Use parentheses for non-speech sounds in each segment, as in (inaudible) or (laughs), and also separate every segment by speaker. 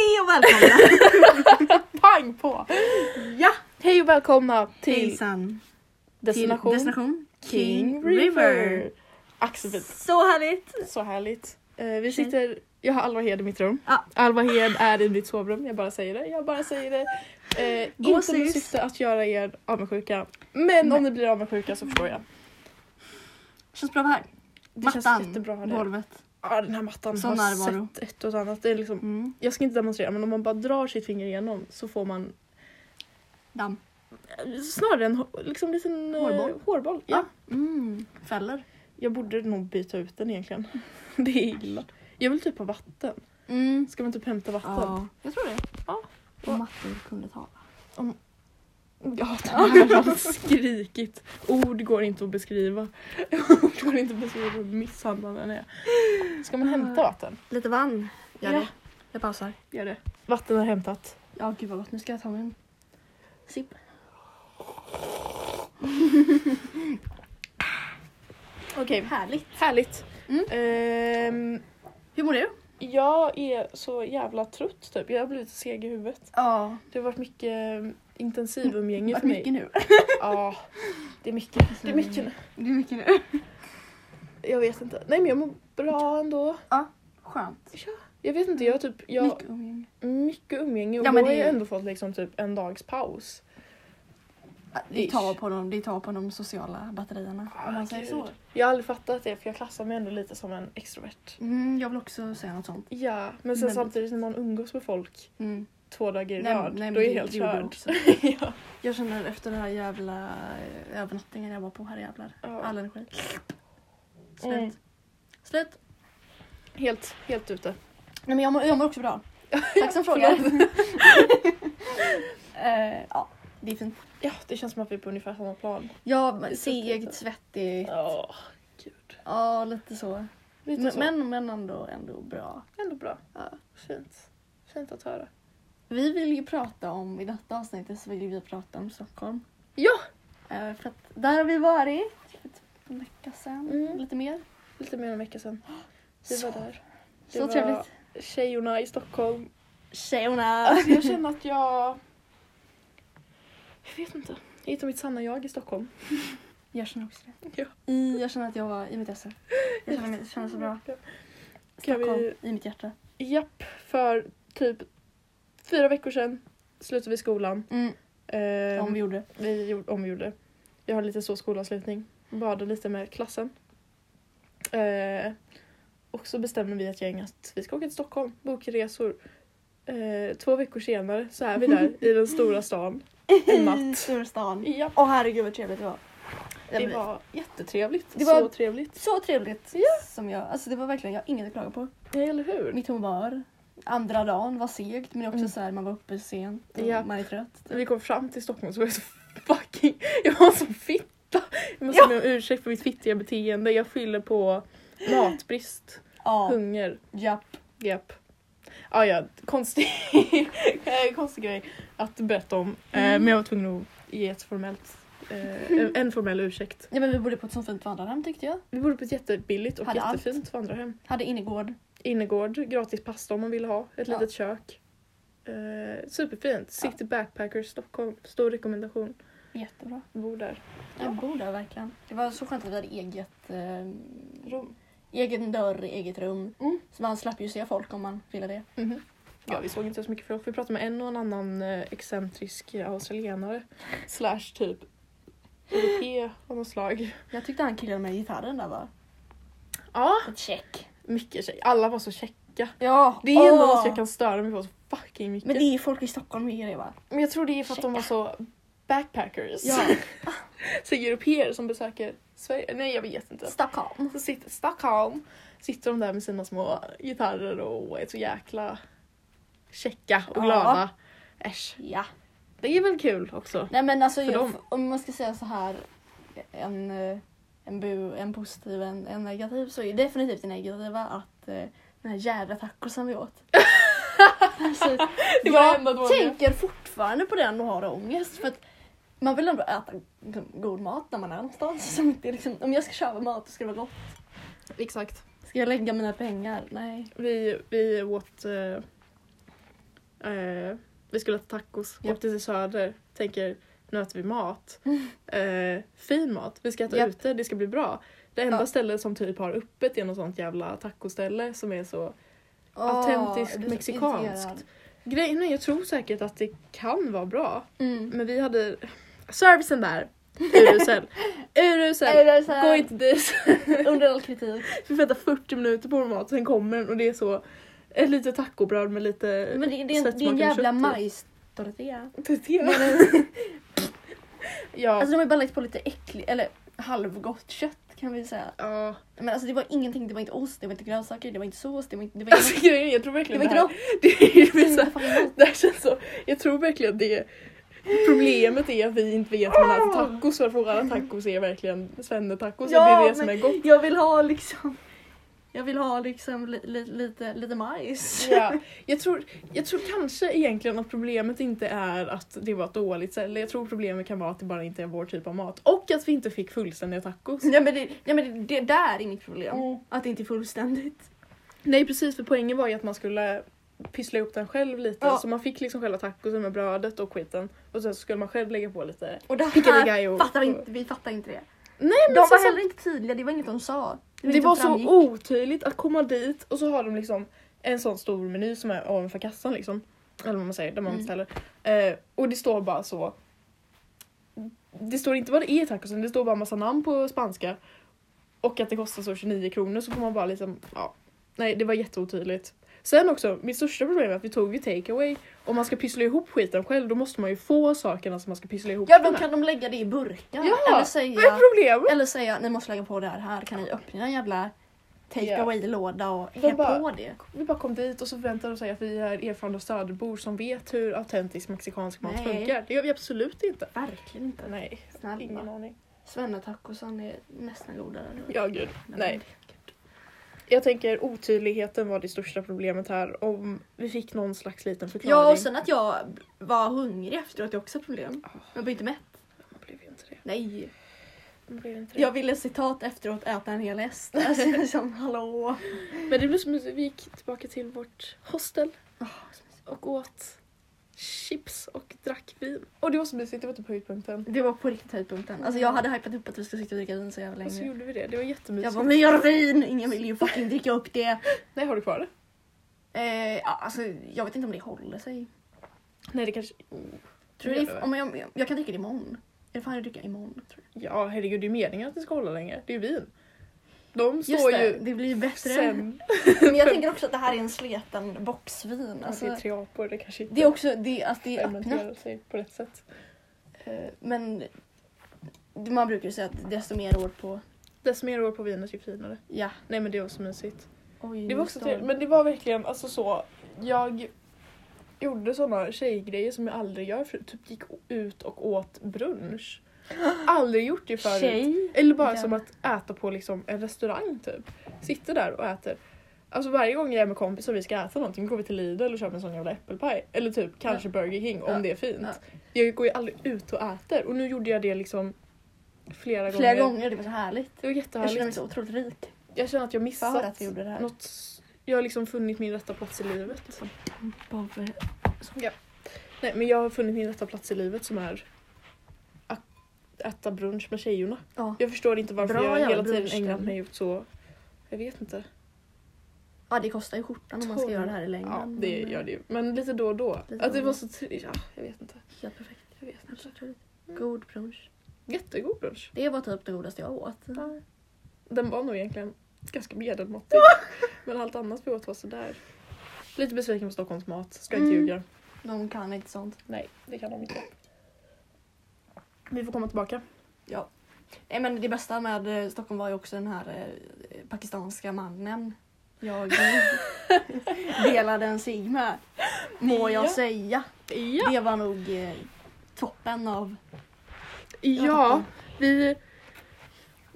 Speaker 1: (laughs)
Speaker 2: välkomna!
Speaker 1: Pang på!
Speaker 2: ja!
Speaker 1: Hej och välkomna till
Speaker 2: Hejsan!
Speaker 1: destination,
Speaker 2: Till destination
Speaker 1: King River. Axelfint,
Speaker 2: Så härligt!
Speaker 1: så härligt. Eh, vi sitter, jag har Alva Hed i mitt rum.
Speaker 2: Ja.
Speaker 1: Alva Hed är i mitt sovrum, jag bara säger det. Jag bara säger det. Eh, inte med
Speaker 2: Gåshus.
Speaker 1: syfte att göra er avundsjuka. Men om ni blir avundsjuka så förstår jag.
Speaker 2: Känns bra att vara här.
Speaker 1: Det
Speaker 2: Mattan,
Speaker 1: känns jättebra här. det.
Speaker 2: golvet.
Speaker 1: Ja, den här mattan
Speaker 2: Så
Speaker 1: har
Speaker 2: närvaro.
Speaker 1: sett ett och annat. Det är liksom,
Speaker 2: Mm.
Speaker 1: jag ska inte demonstrera men om man bara drar sitt finger igenom så får man
Speaker 2: Damm.
Speaker 1: eh, snarare en hå- liksom liten eh,
Speaker 2: Hårboll.
Speaker 1: hårboll. Ja.
Speaker 2: Ja. Mm. Fäller.
Speaker 1: Jag borde nog byta ut den egentligen. (laughs) Det är illa. Jag vill typ ha vatten.
Speaker 2: Mm.
Speaker 1: Ska man typ hämta vatten?
Speaker 2: Ja. Jag tror det.
Speaker 1: Ja.
Speaker 2: Och mattor kunde tala.
Speaker 1: Ja, (laughs) det här har skrikit. Ord går inte att beskriva. (laughs) Ord går inte att beskriva hur misshandlad den är. Ska man hämta vatten?
Speaker 2: Lite vann. Gör
Speaker 1: Ja.
Speaker 2: det. Jag pausar.
Speaker 1: Gör det. Vatten har hämtat.
Speaker 2: Ja gud vad gott, nu ska jag ta min sipp.
Speaker 1: (laughs) Okej,
Speaker 2: Härligt.
Speaker 1: härligt.
Speaker 2: Mm.
Speaker 1: Ehm,
Speaker 2: Hur mår du?
Speaker 1: jag är så jävla trött typ. Jag har blivit seg i huvudet.
Speaker 2: Ja.
Speaker 1: Det har varit mycket intensiv umgänge
Speaker 2: Vart
Speaker 1: för mig.
Speaker 2: mycket
Speaker 1: (laughs)
Speaker 2: nu.
Speaker 1: Ja, det är mycket. Mm. Det är mycket nu.
Speaker 2: Det är mycket nu.
Speaker 1: Jag vet inte. Nej men jag mår bra ändå.
Speaker 2: Skönt.
Speaker 1: Jag vet inte, jag har typ, jag, mycket.
Speaker 2: Mycket umgänge.
Speaker 1: umgänge och
Speaker 2: Ja,
Speaker 1: då
Speaker 2: men
Speaker 1: har
Speaker 2: det är
Speaker 1: jag
Speaker 2: ju-
Speaker 1: ändå fått liksom typ en dags paus. Ah,
Speaker 2: Det tar på de, det tar på de sociala batterierna. Om man säger så.
Speaker 1: Gud. Jag har aldrig fattat det för jag klassar mig ändå lite som en extrovert.
Speaker 2: Mm, jag vill också säga något sånt.
Speaker 1: Ja, men sen
Speaker 2: Men-
Speaker 1: samtidigt när man umgås med folk
Speaker 2: Mm.
Speaker 1: två dagar i
Speaker 2: Nej,
Speaker 1: rad,
Speaker 2: nej, men
Speaker 1: då är jag
Speaker 2: det-
Speaker 1: helt
Speaker 2: det gjorde jag
Speaker 1: körd.
Speaker 2: också.
Speaker 1: (laughs) ja.
Speaker 2: Jag känner efter den här jävla eh, övernattningen jag var på, herrejävlar.
Speaker 1: Ja.
Speaker 2: All energi. Slut.
Speaker 1: Mm.
Speaker 2: Slut.
Speaker 1: Helt, helt ute.
Speaker 2: Nej men jag mår, jag mår också
Speaker 1: (laughs)
Speaker 2: bra. Tack som frågar. Eh, ja, det är fint.
Speaker 1: Ja, det känns som att vi är på ungefär samma plan.
Speaker 2: Ja,
Speaker 1: är
Speaker 2: men
Speaker 1: så fint.
Speaker 2: seg, svettig.
Speaker 1: Ja, gud.
Speaker 2: Ja, lite så.
Speaker 1: Lite
Speaker 2: Men-
Speaker 1: så.
Speaker 2: Men, men ändå, ändå bra.
Speaker 1: ändå bra.
Speaker 2: Ja.
Speaker 1: Fint. Fint att höra.
Speaker 2: Vi vill ju prata om, i detta avsnittet så vill vi prata om Stockholm.
Speaker 1: Ja!
Speaker 2: Eh, för att där har vi varit för typ en vecka sedan,
Speaker 1: Mm.
Speaker 2: lite mer.
Speaker 1: Lite mer än en vecka sedan. (gasps) Vi
Speaker 2: Så-
Speaker 1: var där. Det
Speaker 2: Så
Speaker 1: var
Speaker 2: trevligt.
Speaker 1: Tjejorna i Stockholm
Speaker 2: Tjejerna!
Speaker 1: Alltså jag känner att jag... Jag vet inte. Jag hittar mitt sanna jag i Stockholm.
Speaker 2: Jag känner också det.
Speaker 1: Ja.
Speaker 2: I, jag känner att jag var i mitt esse. Jag känner, mig, känner så bra.
Speaker 1: Kan vi-
Speaker 2: Stockholm, i mitt hjärta.
Speaker 1: Japp, för typ fyra veckor sedan slutade vi skolan.
Speaker 2: Mm.
Speaker 1: Eh,
Speaker 2: Om vi gjorde.
Speaker 1: vi gjorde, om vi gjorde. Jag har lite så skolavslutning. Badade lite med klassen. Eh, och så bestämde vi ett gäng att vi ska åka till Stockholm, bokresor. Eh, två veckor senare så är
Speaker 2: (laughs)
Speaker 1: vi där i den stora stan. En
Speaker 2: I (laughs)
Speaker 1: natt.
Speaker 2: storstan.
Speaker 1: Japp,
Speaker 2: Åh herregud vad trevligt det var.
Speaker 1: det var jättetrevligt.
Speaker 2: Det var-
Speaker 1: Så trevligt.
Speaker 2: Så trevligt som jag, alltså det var verkligen, jag har inget att klaga på.
Speaker 1: Ja, eller hur?
Speaker 2: Mitt humör, andra dagen var segt men också
Speaker 1: Mm.
Speaker 2: så här man var uppe sent och
Speaker 1: Ja.
Speaker 2: man är trött.
Speaker 1: När vi kom fram till Stockholm så var jag så (laughs) fucking... Jag var så fitta. Jag måste
Speaker 2: Ja.
Speaker 1: be om ursäkt för mitt fittiga beteende. Jag skyller på matbrist,
Speaker 2: Ja,
Speaker 1: hunger,
Speaker 2: japp.
Speaker 1: japp. Ah, ja, konstig, (laughs) eh, konstig grej att berätta om. Eh,
Speaker 2: Mm.
Speaker 1: Men jag var tvungen att ge ett formellt, eh, en- en formell ursäkt.
Speaker 2: Ja men vi bodde på ett sånt fint vandrarhem tyckte jag.
Speaker 1: Vi bodde på ett jättebilligt och
Speaker 2: Hade allt.
Speaker 1: jättefint vandrarhem.
Speaker 2: Hade innergård.
Speaker 1: Innergård, gratis pasta om man vill ha, ett
Speaker 2: Ja.
Speaker 1: litet kök. Eh, superfint. City Backpackers Stockholm, stor rekommendation.
Speaker 2: Jättebra.
Speaker 1: Bor där.
Speaker 2: Jag bor där verkligen. Det var så skönt att vi hade eget eh,
Speaker 1: Rum.
Speaker 2: Egen dörr, eget rum.
Speaker 1: Mm.
Speaker 2: Så man slapp ju se folk om man ville det.
Speaker 1: Mhm. Ja,
Speaker 2: Ja.
Speaker 1: vi såg inte så mycket folk. Vi pratade med en och en annan eh, excentrisk eh, australienare. Slash typ europe av något slag.
Speaker 2: Jag tyckte han killen med gitarren där var
Speaker 1: Ja,
Speaker 2: ett check.
Speaker 1: mycket check. Alla var så checka.
Speaker 2: Ja,
Speaker 1: Det är ändå
Speaker 2: åh.
Speaker 1: något jag kan störa mig på så fucking mycket.
Speaker 2: Men
Speaker 1: Men,
Speaker 2: det är ju folk i Stockholm med det va?
Speaker 1: jag tror det är för att de var så backpackers.
Speaker 2: Ja,
Speaker 1: (laughs) så europeer som besöker Sverige. Nej, jag vet inte.
Speaker 2: Stockholm.
Speaker 1: Så sitter, Stockholm sitter de där med sina små gitarrer och är så jäkla checka och
Speaker 2: Ja.
Speaker 1: glada. Äsch.
Speaker 2: Ja.
Speaker 1: Det är väl kul också.
Speaker 2: Nej men alltså
Speaker 1: För
Speaker 2: jag,
Speaker 1: dem.
Speaker 2: om man ska säga så här en, eh, en, bu, en positiv en, en negativ så är definitivt det negativa att eh, den här jävla tacosen vi
Speaker 1: (laughs)
Speaker 2: åt. alltså,
Speaker 1: Det var det
Speaker 2: jag
Speaker 1: enda dåliga.
Speaker 2: tänker fortfarande på den och har ångest för att man vill ändå äta liksom, god mat när man är någonstans. (laughs) Som inte, är liksom, om jag ska köpa mat så ska det vara gott.
Speaker 1: Exakt.
Speaker 2: Ska jag lägga mina pengar? Nej.
Speaker 1: Vi, vi åt eh, Eh, vi skulle äta tacos,
Speaker 2: Ja.
Speaker 1: åkte till Söder, tänker nu äter
Speaker 2: (laughs)
Speaker 1: vi mat. Eh, fin mat, vi ska äta
Speaker 2: Japp.
Speaker 1: ute, det ska bli bra. Det enda
Speaker 2: Mm. Ja.
Speaker 1: stället som typ har öppet är något sånt jävla tacoställe som är så
Speaker 2: Åh,
Speaker 1: Autentiskt
Speaker 2: jag blir så
Speaker 1: mexikanskt.
Speaker 2: irriterad.
Speaker 1: Grejen är, jag tror säkert att det kan vara bra.
Speaker 2: Mm.
Speaker 1: Men vi hade servicen där,
Speaker 2: (laughs)
Speaker 1: urusel.
Speaker 2: Är
Speaker 1: urusel!
Speaker 2: det så här-
Speaker 1: Gå inte dit!
Speaker 2: Under all kritik.
Speaker 1: Vi får vänta 40 minuter på vår mat, sen kommer den och det är så ett litet tacobröd med lite
Speaker 2: Men det, det, är en, det är en
Speaker 1: Svetsmakande
Speaker 2: jävla
Speaker 1: kött i.
Speaker 2: majstortilla.
Speaker 1: tortilla. ja.
Speaker 2: Alltså de har bara lagt på lite äckligt, eller halvgott kött kan vi säga.
Speaker 1: ja.
Speaker 2: Men alltså det var ingenting, det var inte ost, det var inte grönsaker, det var inte sås, det var inte... Det var
Speaker 1: Alltså
Speaker 2: inget-
Speaker 1: grejen är, jag
Speaker 2: (laughs)
Speaker 1: tror
Speaker 2: det
Speaker 1: verkligen
Speaker 2: var
Speaker 1: det
Speaker 2: inte
Speaker 1: här-
Speaker 2: något.
Speaker 1: (laughs) det är
Speaker 2: Det var
Speaker 1: ju så
Speaker 2: inte
Speaker 1: här-
Speaker 2: fucking något.
Speaker 1: det här känns så, jag tror verkligen det Problemet är att vi inte vet vad man äter tacos för att våra tacos är verkligen svennetacos. Ja,
Speaker 2: Ja,
Speaker 1: det är det som är
Speaker 2: men-
Speaker 1: gott.
Speaker 2: Jag vill ha liksom... Jag vill ha liksom li, li, lite, lite majs.
Speaker 1: Ja, jag, tror, jag tror kanske egentligen att problemet inte är att det var ett dåligt ställe. Jag tror problemet kan vara att det bara inte är vår typ av mat. Och att vi inte fick fullständiga tacos.
Speaker 2: Ja men, det, ja, men det, det där är mitt problem.
Speaker 1: Mm.
Speaker 2: Att det inte är fullständigt.
Speaker 1: Nej precis, för poängen var ju att man skulle pyssla ihop den själv lite.
Speaker 2: Ja.
Speaker 1: Så man fick liksom själva tacosen med brödet och skiten. Och sen så skulle man själv lägga på lite
Speaker 2: Och det här
Speaker 1: piccadilly och...
Speaker 2: fattar vi inte, vi fattar inte det.
Speaker 1: Nej
Speaker 2: De
Speaker 1: men så,
Speaker 2: var
Speaker 1: så,
Speaker 2: heller inte tydliga, det var inget de sa.
Speaker 1: det
Speaker 2: inget som
Speaker 1: var så
Speaker 2: framgick.
Speaker 1: otydligt att komma dit och så har de liksom en sån stor meny som är ovanför kassan liksom. Eller vad man säger, där man
Speaker 2: Mm.
Speaker 1: beställer. Eh, och det står bara så. Det står inte vad det är i tacosen, det står bara massa namn på spanska. Och att det kostar så 29 kronor så får man bara liksom, ja. Nej det var jätteotydligt. Sen också, mitt största problem är att vi tog ju takeaway. Om man ska pyssla ihop skiten själv då måste man ju få sakerna som man ska pyssla ihop
Speaker 2: Ja
Speaker 1: det
Speaker 2: då
Speaker 1: med.
Speaker 2: kan de lägga det i burkar.
Speaker 1: Ja,
Speaker 2: eller
Speaker 1: Vad är
Speaker 2: säga,
Speaker 1: problemet?
Speaker 2: eller säga ni måste lägga på det här, här kan ni öppna en jävla take
Speaker 1: Ja.
Speaker 2: away-låda och
Speaker 1: De
Speaker 2: hä
Speaker 1: bara-
Speaker 2: på det.
Speaker 1: Vi bara kom dit och så förväntade de sig att vi är erfarna söderbor som vet hur autentisk mexikansk mat
Speaker 2: Nej.
Speaker 1: funkar. Det gör vi absolut inte.
Speaker 2: Verkligen inte.
Speaker 1: Nej, ingen
Speaker 2: Snälla.
Speaker 1: aning.
Speaker 2: Svennetacosan är nästan godare nu.
Speaker 1: Ja, gud.
Speaker 2: men-
Speaker 1: Nej. Jag tänker otydligheten var det största problemet här. Om vi fick någon slags liten förklaring.
Speaker 2: Ja och sen att jag var hungrig efteråt är också ett problem. Jag blev inte mätt.
Speaker 1: Ah, Man blev ju inte det.
Speaker 2: Nej.
Speaker 1: Man blev ju inte det.
Speaker 2: Jag ville citat efteråt äta en hel häst. (laughs) Alltså liksom hallå.
Speaker 1: Men det blev som att vi gick tillbaka till vårt hostel och åt chips och drack vin. Och det var så mysigt, det var typ höjdpunkten.
Speaker 2: Det var på riktigt höjdpunkten. Alltså jag hade hypat upp att vi skulle sitta och dricka vin så jävla
Speaker 1: Och så
Speaker 2: länge.
Speaker 1: gjorde vi det, det var
Speaker 2: Jag
Speaker 1: jättemysigt.
Speaker 2: bara mer vin! Ingen vill ju fucking dricka upp det.
Speaker 1: Nej, har du kvar det?
Speaker 2: Eh, ja, alltså, jag vet inte om det håller sig.
Speaker 1: Nej, det kanske...
Speaker 2: Tror
Speaker 1: Gör
Speaker 2: det
Speaker 1: det, va?
Speaker 2: är, om jag, jag, jag kan dricka det imorgon. Är det fan jag dricker imorgon? Tror jag.
Speaker 1: Ja, herregud, det är ju meningen att det ska hålla länge. Det är ju vin. De
Speaker 2: Just
Speaker 1: står
Speaker 2: det,
Speaker 1: ju
Speaker 2: det blir ju bättre.
Speaker 1: sen...
Speaker 2: (laughs) Men jag tänker också att det här är en sleten boxvin.
Speaker 1: Alltså,
Speaker 2: Alltså,
Speaker 1: det är tre apor, det kanske inte
Speaker 2: det är också det, alltså, det är öppnat.
Speaker 1: fermenterar sig på rätt sätt.
Speaker 2: eh, Men man brukar ju säga att desto mer år på...
Speaker 1: Desto mer år på vinet, ju finare.
Speaker 2: Ja.
Speaker 1: Nej men det var så mysigt.
Speaker 2: Oj,
Speaker 1: Det
Speaker 2: nu
Speaker 1: var också
Speaker 2: står-
Speaker 1: trevligt, men det var verkligen alltså så. Jag gjorde såna tjejgrejer som jag aldrig gör förut. Typ gick ut och
Speaker 2: (gasps)
Speaker 1: åt brunch. Aldrig gjort det förut.
Speaker 2: Tjej.
Speaker 1: Eller bara
Speaker 2: Ja.
Speaker 1: som att äta på liksom en restaurang typ. Sitter där och äter. Alltså varje gång jag är med kompisar och vi ska äta någonting går vi till Lidl och köper en sån jävla äppelpaj. Eller typ kanske Burger King om
Speaker 2: Ja.
Speaker 1: det är fint.
Speaker 2: Ja.
Speaker 1: Jag går ju aldrig ut och äter och nu gjorde jag det liksom flera,
Speaker 2: Flera gånger, det var så härligt.
Speaker 1: Det var
Speaker 2: Jag
Speaker 1: jättehärligt.
Speaker 2: känner mig så otroligt rik
Speaker 1: Jag känner att jag
Speaker 2: för
Speaker 1: missat
Speaker 2: att vi gjorde det här. Liksom.
Speaker 1: något. s- Jag har liksom funnit min rätta plats i livet.
Speaker 2: Bara för-
Speaker 1: Nej men jag har funnit min rätta plats i livet som är att äta brunch med tjejerna.
Speaker 2: Ja.
Speaker 1: Jag förstår inte varför
Speaker 2: Bra
Speaker 1: jag hela
Speaker 2: jävla
Speaker 1: tiden
Speaker 2: brunchställe.
Speaker 1: ägnat mig åt så. Jag vet inte.
Speaker 2: ja, det kostar ju skjortan om man ska
Speaker 1: Ton.
Speaker 2: göra det här i längden.
Speaker 1: Ja, det
Speaker 2: men,
Speaker 1: gör det ju. Men lite då och då.
Speaker 2: Lite
Speaker 1: att
Speaker 2: då
Speaker 1: det
Speaker 2: och
Speaker 1: var
Speaker 2: då.
Speaker 1: så trevligt. Ja, jag vet inte.
Speaker 2: Helt perfekt.
Speaker 1: Jag vet inte.
Speaker 2: Absolut.
Speaker 1: Mm.
Speaker 2: God brunch.
Speaker 1: Jättegod brunch.
Speaker 2: Det var typ det godaste jag åt.
Speaker 1: Den var nog egentligen ganska medelmåttig. Men allt annat vi åt var sådär. Lite besviken på Stockholms mat. Ska inte
Speaker 2: Mm.
Speaker 1: ljuga.
Speaker 2: De kan inte sånt.
Speaker 1: Nej, det kan de inte. Vi får komma tillbaka.
Speaker 2: Ja. Nej, men det bästa med eh, Stockholm var ju också den här eh, pakistanska mannen
Speaker 1: (laughs)
Speaker 2: jag delade en cigg med. Må jag
Speaker 1: Ja.
Speaker 2: säga.
Speaker 1: Ja!
Speaker 2: Det var nog eh, toppen av...
Speaker 1: Ja, vi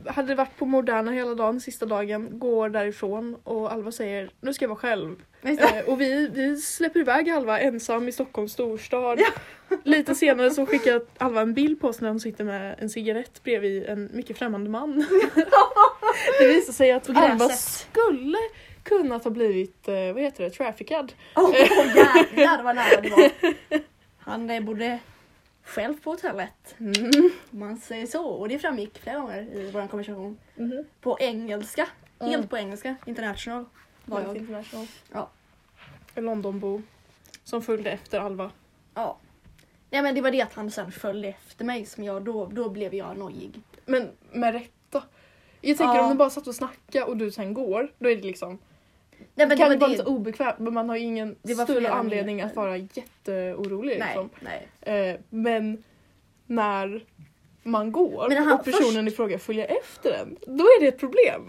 Speaker 1: hade varit på Moderna hela dagen, sista dagen, går därifrån och Alva säger nu ska jag vara själv. Eh, och vi, vi släpper iväg Alva ensam i Stockholms storstad. Lite senare så skickar Alva en bild på oss när hon sitter med en cigarett (laughs) bredvid en mycket främmande man. det visar sig att
Speaker 2: På
Speaker 1: Alva
Speaker 2: gräset.
Speaker 1: skulle kunnat ha blivit, eh, vad heter det, traffickad.
Speaker 2: Åh oh, jävlar vad nära det var. Han eh, bodde själv på hotellet.
Speaker 1: Mm-hmm.
Speaker 2: Om man säger så. Och det framgick flera gånger i vår konversation.
Speaker 1: Mm-hmm.
Speaker 2: På engelska.
Speaker 1: Mm.
Speaker 2: Helt på engelska. International. Var
Speaker 1: Helt
Speaker 2: jag.
Speaker 1: international.
Speaker 2: Ja.
Speaker 1: En Londonbo. Som följde efter Alva.
Speaker 2: Ja. Nej men det var det att han sen följde efter mig som jag då, då blev jag nojig.
Speaker 1: Men med rätta. Jag tänker
Speaker 2: Ja.
Speaker 1: om ni bara satt och snackade och du sen går, då är det liksom
Speaker 2: Nej men
Speaker 1: kan
Speaker 2: det
Speaker 1: det vara
Speaker 2: var
Speaker 1: lite
Speaker 2: det.
Speaker 1: obekvämt men man har ju ingen
Speaker 2: Det var
Speaker 1: större
Speaker 2: flera
Speaker 1: anledning
Speaker 2: minuter.
Speaker 1: att vara jätteorolig.
Speaker 2: Nej,
Speaker 1: Liksom.
Speaker 2: nej.
Speaker 1: Eh, men när man går
Speaker 2: Men när han
Speaker 1: och personen i fråga följer efter en, då är det ett problem.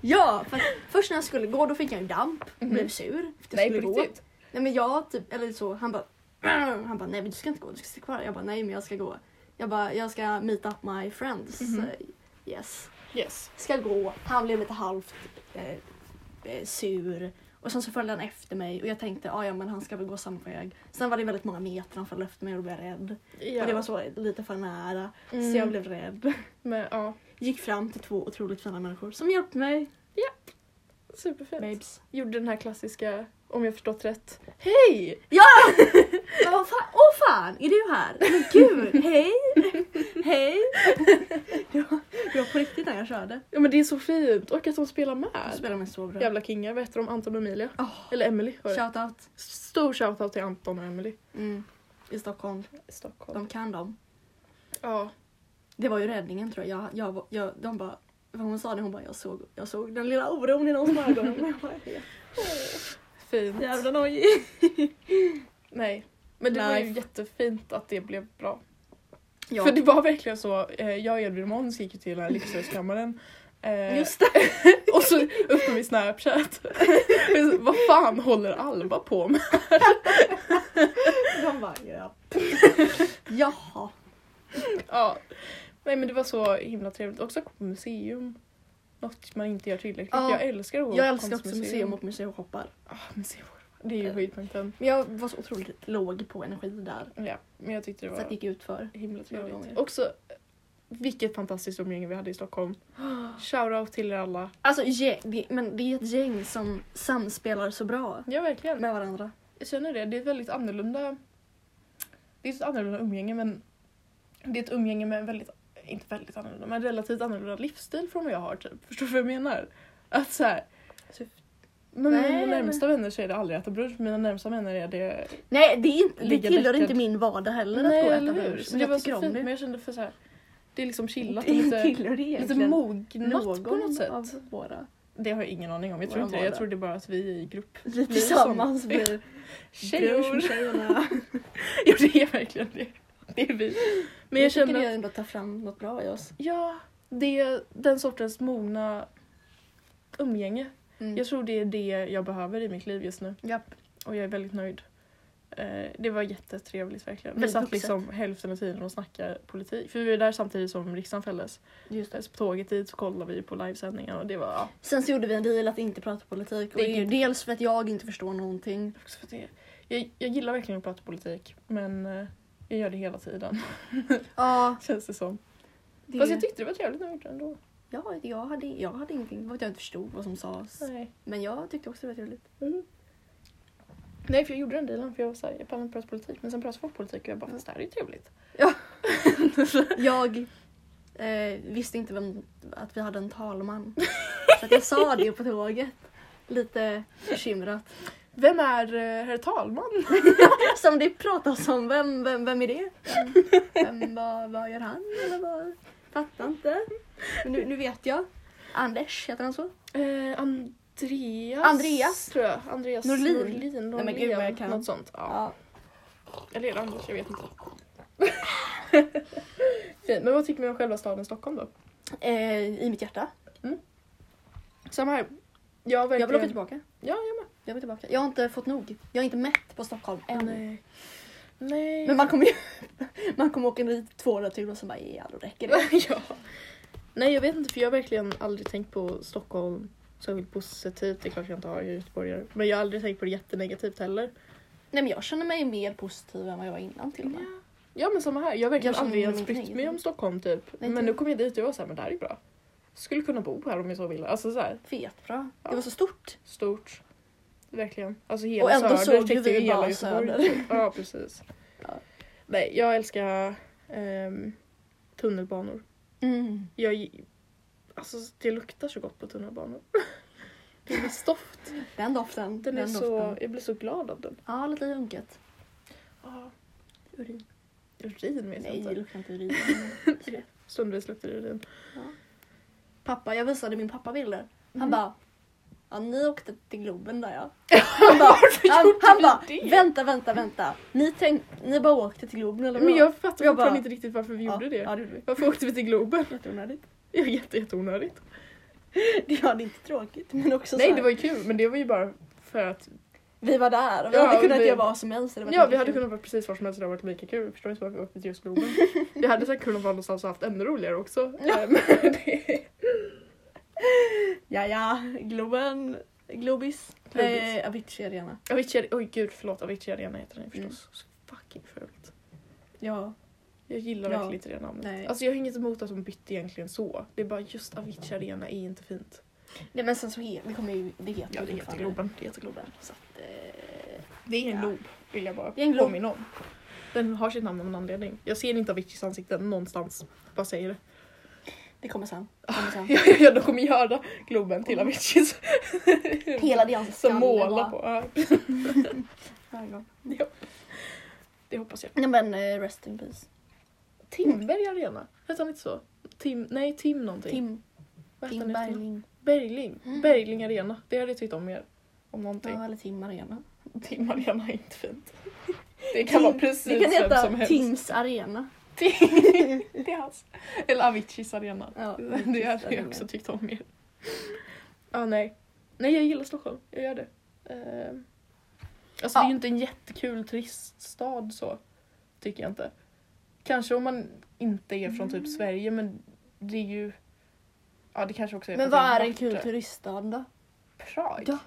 Speaker 2: Ja, för att först när jag skulle gå då fick jag en damp och
Speaker 1: Mhm.
Speaker 2: blev sur. för att jag skulle gå. Nej men jag typ, eller så, han bara (clears throat) Han bara nej men du ska inte gå, du ska sitta kvar. Jag bara nej men jag ska gå. Jag bara jag ska meet up my friends.
Speaker 1: Mhm.
Speaker 2: Eh, Yes.
Speaker 1: Yes.
Speaker 2: Ska gå, han blev lite halvt eh, eh, sur. Och sen så följde han efter mig och jag tänkte ah, ja men han ska väl gå samma väg. Sen var det väldigt många meter han följde efter mig och då blev jag rädd.
Speaker 1: Ja.
Speaker 2: Och det var så lite för nära.
Speaker 1: Mm.
Speaker 2: Så jag blev rädd.
Speaker 1: Men, ja.
Speaker 2: Gick fram till två otroligt fina människor som hjälpte mig.
Speaker 1: Superfint.
Speaker 2: Babes.
Speaker 1: Gjorde den här klassiska, om jag förstått rätt, Hej!
Speaker 2: Men vad fan, åh fan, är du här? Men gud, hej! Hej! Det var, det var på riktigt när jag körde.
Speaker 1: Ja men det är så fint och att de spelar
Speaker 2: Du
Speaker 1: med.
Speaker 2: spelar med så bra.
Speaker 1: Jävla kingar, vad heter de? Anton och Emilia?
Speaker 2: Oh,
Speaker 1: Eller Emily var det.
Speaker 2: Shoutout.
Speaker 1: Stor shoutout till Anton och Emily.
Speaker 2: Mm. I Stockholm.
Speaker 1: Stockholm.
Speaker 2: De kan dem.
Speaker 1: Ja.
Speaker 2: Det var ju räddningen tror jag. jag, jag, var- jag de bara, vad hon sa det, hon bara jag såg, jag såg den lilla oron i någons ögon. (laughs) Men jag bara,
Speaker 1: Fint.
Speaker 2: Jävla nojig.
Speaker 1: Nej. Men det var ju
Speaker 2: Life.
Speaker 1: jättefint att det blev bra.
Speaker 2: Ja,
Speaker 1: För det var verkligen så, eh, jag och Edvin och Måns gick ju till den här lyxhuskammaren. Eh,
Speaker 2: just det.
Speaker 1: och så upp med min snapchat.
Speaker 2: (laughs)
Speaker 1: Och så, Vad fan håller Alva på med?
Speaker 2: De bara, ja. Jaha.
Speaker 1: Ja. Nej men det var så himla trevligt. Också att gå på museum. Något man inte gör tillräckligt.
Speaker 2: Ja.
Speaker 1: Jag älskar att gå
Speaker 2: Jag
Speaker 1: på
Speaker 2: älskar också
Speaker 1: konstmuseum.
Speaker 2: museum och museishoppar.
Speaker 1: Ah, museum. Det är ju
Speaker 2: Eh.
Speaker 1: höjdpunkten.
Speaker 2: Men jag var så otroligt låg på energi där.
Speaker 1: Ja, men jag tyckte det
Speaker 2: Så att det
Speaker 1: var
Speaker 2: gick ut för.
Speaker 1: himla trevligt.
Speaker 2: gånger.
Speaker 1: Också vilket fantastiskt umgänge vi hade i Stockholm. Shoutout till er alla.
Speaker 2: Alltså gäng, det, men det är ett gäng som samspelar så bra
Speaker 1: Ja verkligen.
Speaker 2: med varandra.
Speaker 1: Jag känner det. Det är ett väldigt annorlunda... Det är ett annorlunda umgänge men det är ett umgänge med en väldigt, inte väldigt annorlunda, men relativt annorlunda livsstil från vad jag har typ. Förstår du vad jag menar? Att så här, men
Speaker 2: Typ- Nej,
Speaker 1: mina
Speaker 2: men-
Speaker 1: närmsta vänner så är det aldrig att äta brunch, mina närmsta vänner är det...
Speaker 2: Nej, det, är inte, det
Speaker 1: Ligga
Speaker 2: tillhör
Speaker 1: bäckad.
Speaker 2: inte min vardag heller att gå och äta brunch. Men
Speaker 1: Det var
Speaker 2: jag tycker
Speaker 1: så
Speaker 2: om
Speaker 1: fint
Speaker 2: det.
Speaker 1: men jag kände för så här, det är liksom chillat
Speaker 2: Det
Speaker 1: och lite,
Speaker 2: tillhör det
Speaker 1: lite
Speaker 2: egentligen
Speaker 1: mognat på något sätt.
Speaker 2: av våra.
Speaker 1: Det har jag ingen aning om, jag tror
Speaker 2: Våra
Speaker 1: inte det. Jag
Speaker 2: vardag.
Speaker 1: tror det är bara att vi är i grupp.
Speaker 2: Vi
Speaker 1: blir som-
Speaker 2: tillsammans (laughs) blir brunch med
Speaker 1: Brunch.
Speaker 2: tjejerna.
Speaker 1: Ja det är verkligen det. Det är vi. Men jag,
Speaker 2: tycker
Speaker 1: känner
Speaker 2: det ändå tar fram något bra i oss.
Speaker 1: Ja, det är den sortens mogna umgänge.
Speaker 2: Mm.
Speaker 1: Jag tror det är det jag behöver i mitt liv just nu
Speaker 2: Japp.
Speaker 1: och jag är väldigt nöjd. Eh, Det var jättetrevligt verkligen. Vi
Speaker 2: Väldigt
Speaker 1: satt
Speaker 2: vuxet.
Speaker 1: liksom hälften av tiden och snackade politik. För vi var där samtidigt som riksdagen fälldes.
Speaker 2: Just det.
Speaker 1: Så på tåget dit så kollade vi på livesändningar och det var... Ja,
Speaker 2: Sen så gjorde vi en deal att inte prata politik. Och
Speaker 1: Det
Speaker 2: det
Speaker 1: är
Speaker 2: är ju dels för att jag inte förstår någonting.
Speaker 1: också för att det, jag, jag gillar verkligen att prata politik men eh, jag gör det hela tiden (laughs)
Speaker 2: Ja,
Speaker 1: känns det som.
Speaker 2: det...
Speaker 1: Fast jag tyckte det var trevligt när jag gjorde det ändå.
Speaker 2: ja, jag, hade, jag hade ingenting. Det var att jag inte förstod vad som sades.
Speaker 1: Nej.
Speaker 2: Men jag tyckte också det var trevligt.
Speaker 1: Nej för jag gjorde den dealen för jag var såhär, jag pallar inte prata politik men sen pratade folk politik och jag
Speaker 2: Mm.
Speaker 1: bara fast det här är ju trevligt.
Speaker 2: (laughs) Jag eh, visste inte vem, att vi hade en (laughs) talman. Så att jag sa det på tåget. Lite bekymrat.
Speaker 1: Vem är eh, herr talman?
Speaker 2: Som det pratas om, vem, vem, vem är det? Vem, vem, vad, vad gör han? Eller vad? Fattar inte. Men nu, nu vet jag. Anders, heter han så?
Speaker 1: Eh, Andreas.
Speaker 2: Andreas.
Speaker 1: tror jag. Andreas
Speaker 2: Norlin.
Speaker 1: Norlin.
Speaker 2: Nej, men gud, vad jag kan.
Speaker 1: Något sånt. Ja.
Speaker 2: Ja.
Speaker 1: Eller är det Anders? Jag vet inte. (laughs) Fint. Men vad tycker vi om själva staden Stockholm då?
Speaker 2: Eh, I mitt hjärta.
Speaker 1: Samma här. Jag,
Speaker 2: Jag vill åka tillbaka.
Speaker 1: Ja, jag med.
Speaker 2: Jag vill tillbaka. Jag har inte fått nog. Jag är inte mätt på Stockholm än.
Speaker 1: Nej. Nej.
Speaker 2: Men man kommer ju (laughs) man kommer åka dit två returer och så bara ja, då räcker det.
Speaker 1: (laughs) ja. Nej, jag vet inte för jag har verkligen aldrig tänkt på Stockholm särskilt positivt. Det är klart jag inte har, jag är göteborgare. Men jag har aldrig tänkt på det jättenegativt heller.
Speaker 2: Nej men jag känner mig mer positiv än vad jag var innan till och med.
Speaker 1: Ja men samma här, jag har verkligen
Speaker 2: Jag känner
Speaker 1: aldrig
Speaker 2: mig
Speaker 1: ens
Speaker 2: inte
Speaker 1: brytt mig
Speaker 2: negativ.
Speaker 1: om Stockholm typ.
Speaker 2: Nej,
Speaker 1: men
Speaker 2: typ.
Speaker 1: nu kom jag dit och jag var såhär, men det här är bra. skulle kunna bo här om jag så ville. Alltså så här,
Speaker 2: Fet bra.
Speaker 1: Ja.
Speaker 2: Det var så stort.
Speaker 1: stort. Verkligen. Alltså hela
Speaker 2: Och ändå
Speaker 1: söder
Speaker 2: såg ju
Speaker 1: täckte
Speaker 2: vi
Speaker 1: hela
Speaker 2: bara
Speaker 1: Göteborg,
Speaker 2: söder.
Speaker 1: typ. Ja, precis.
Speaker 2: Ja.
Speaker 1: Nej, jag älskar ehm, tunnelbanor.
Speaker 2: Mm.
Speaker 1: Jag, gi- alltså det luktar så gott
Speaker 2: (laughs)
Speaker 1: på tunnelbanor. Det är stoft.
Speaker 2: Den doften.
Speaker 1: Den är så,
Speaker 2: doften.
Speaker 1: jag blir så glad av den.
Speaker 2: Ja, lite junket.
Speaker 1: Ja,
Speaker 2: Urin.
Speaker 1: urin vet
Speaker 2: Nej,
Speaker 1: jag
Speaker 2: det
Speaker 1: inte.
Speaker 2: luktar inte urin.
Speaker 1: (laughs) Stundvis luktar
Speaker 2: (laughs)
Speaker 1: det urin.
Speaker 2: pappa, jag visade min pappa bilder. Han
Speaker 1: Mhm.
Speaker 2: bara, ja, ni åkte till Globen
Speaker 1: (laughs)
Speaker 2: där ja. Han bara, han,
Speaker 1: gjorde
Speaker 2: han
Speaker 1: ni
Speaker 2: bara
Speaker 1: (laughs) det?
Speaker 2: vänta, vänta, vänta. Ni, tänk, ni bara åkte till Globen eller
Speaker 1: Men
Speaker 2: vadå?"
Speaker 1: jag fattar
Speaker 2: Jag
Speaker 1: fortfarande
Speaker 2: bara-
Speaker 1: inte riktigt varför vi
Speaker 2: ja,
Speaker 1: gjorde det.
Speaker 2: Ja, det gjorde vi.
Speaker 1: Varför åkte vi till Globen? (laughs)
Speaker 2: Jätteonödigt.
Speaker 1: Det var jätte, jätteonödigt.
Speaker 2: Ja, det är inte tråkigt men också så
Speaker 1: Nej,
Speaker 2: här,
Speaker 1: det var ju kul men det var ju bara för att
Speaker 2: vi var där och vi
Speaker 1: Ja,
Speaker 2: hade kunnat
Speaker 1: vi-
Speaker 2: göra vad som helst. det var
Speaker 1: Ja vi
Speaker 2: jättekul.
Speaker 1: hade kunnat vara precis var som helst och det hade varit lika kul. Förstår inte varför vi åkte till just Globen. Vi hade säkert kunnat vara någonstans och haft ännu roligare också. Eh, men det-
Speaker 2: (laughs) Ja, ja, Globen, Globis.
Speaker 1: Globis.
Speaker 2: Eh, Avicii Arena.
Speaker 1: Avicii, oj gud förlåt Avicii Arena heter den
Speaker 2: Mm.
Speaker 1: förstås. Så fucking fult.
Speaker 2: Ja,
Speaker 1: Jag gillar
Speaker 2: Ja.
Speaker 1: verkligen inte det namnet.
Speaker 2: Nej.
Speaker 1: Alltså jag har inget emot att de bytte egentligen så. Det är bara just Avicii Arena är inte fint.
Speaker 2: nej, men sen så he- det kommer ju, det heter
Speaker 1: Ja det
Speaker 2: ju
Speaker 1: heter
Speaker 2: fortfarande
Speaker 1: Globen. Det heter Globen.
Speaker 2: Så att, eh,
Speaker 1: Det är en
Speaker 2: Ja.
Speaker 1: glob vill jag bara
Speaker 2: Det är en glob.
Speaker 1: påminna om. Den har sitt namn av en anledning. Jag ser inte Aviciis ansikte någonstans. Vad säger det?
Speaker 2: det kommer sen. Det kommer sen. (laughs)
Speaker 1: (laughs) Ja, ja, ja, de kommer göra Globen till Aviciis.
Speaker 2: Hela deras
Speaker 1: (laughs) Som
Speaker 2: skalle
Speaker 1: målar
Speaker 2: bara-
Speaker 1: på. Ja. Ja. Det hoppas jag.
Speaker 2: Nej men eh, rest in peace.
Speaker 1: Timberg Arena? Hette han inte så? Tim, nej, Tim någonting.
Speaker 2: Tim, Mm.
Speaker 1: Vad hette
Speaker 2: Tim
Speaker 1: han efter?
Speaker 2: Bergling.
Speaker 1: Bergling. Bergling Arena. Det hade jag tyckt om mer. Om någonting.
Speaker 2: Ja, eller Tim Arena.
Speaker 1: Tim Arena är inte fint. Det kan vara precis
Speaker 2: Det kan
Speaker 1: vem som
Speaker 2: heta
Speaker 1: helst.
Speaker 2: Tims Arena.
Speaker 1: Det är hans. Eller Aviciis Arena.
Speaker 2: (laughs) Ja,
Speaker 1: det hade jag också tyckt om mer. Ja, nej. Nej, jag gillar Stockholm. Jag gör det. Eh, alltså det är
Speaker 2: Ja.
Speaker 1: ju inte en jättekul turiststad så. Tycker jag inte. Kanske om man inte är från typ Sverige men det är ju... Ja, det kanske också är typ- för
Speaker 2: Men
Speaker 1: att
Speaker 2: vad
Speaker 1: det
Speaker 2: är en
Speaker 1: vackert.
Speaker 2: kul turiststad då?
Speaker 1: Prag.
Speaker 2: Ja.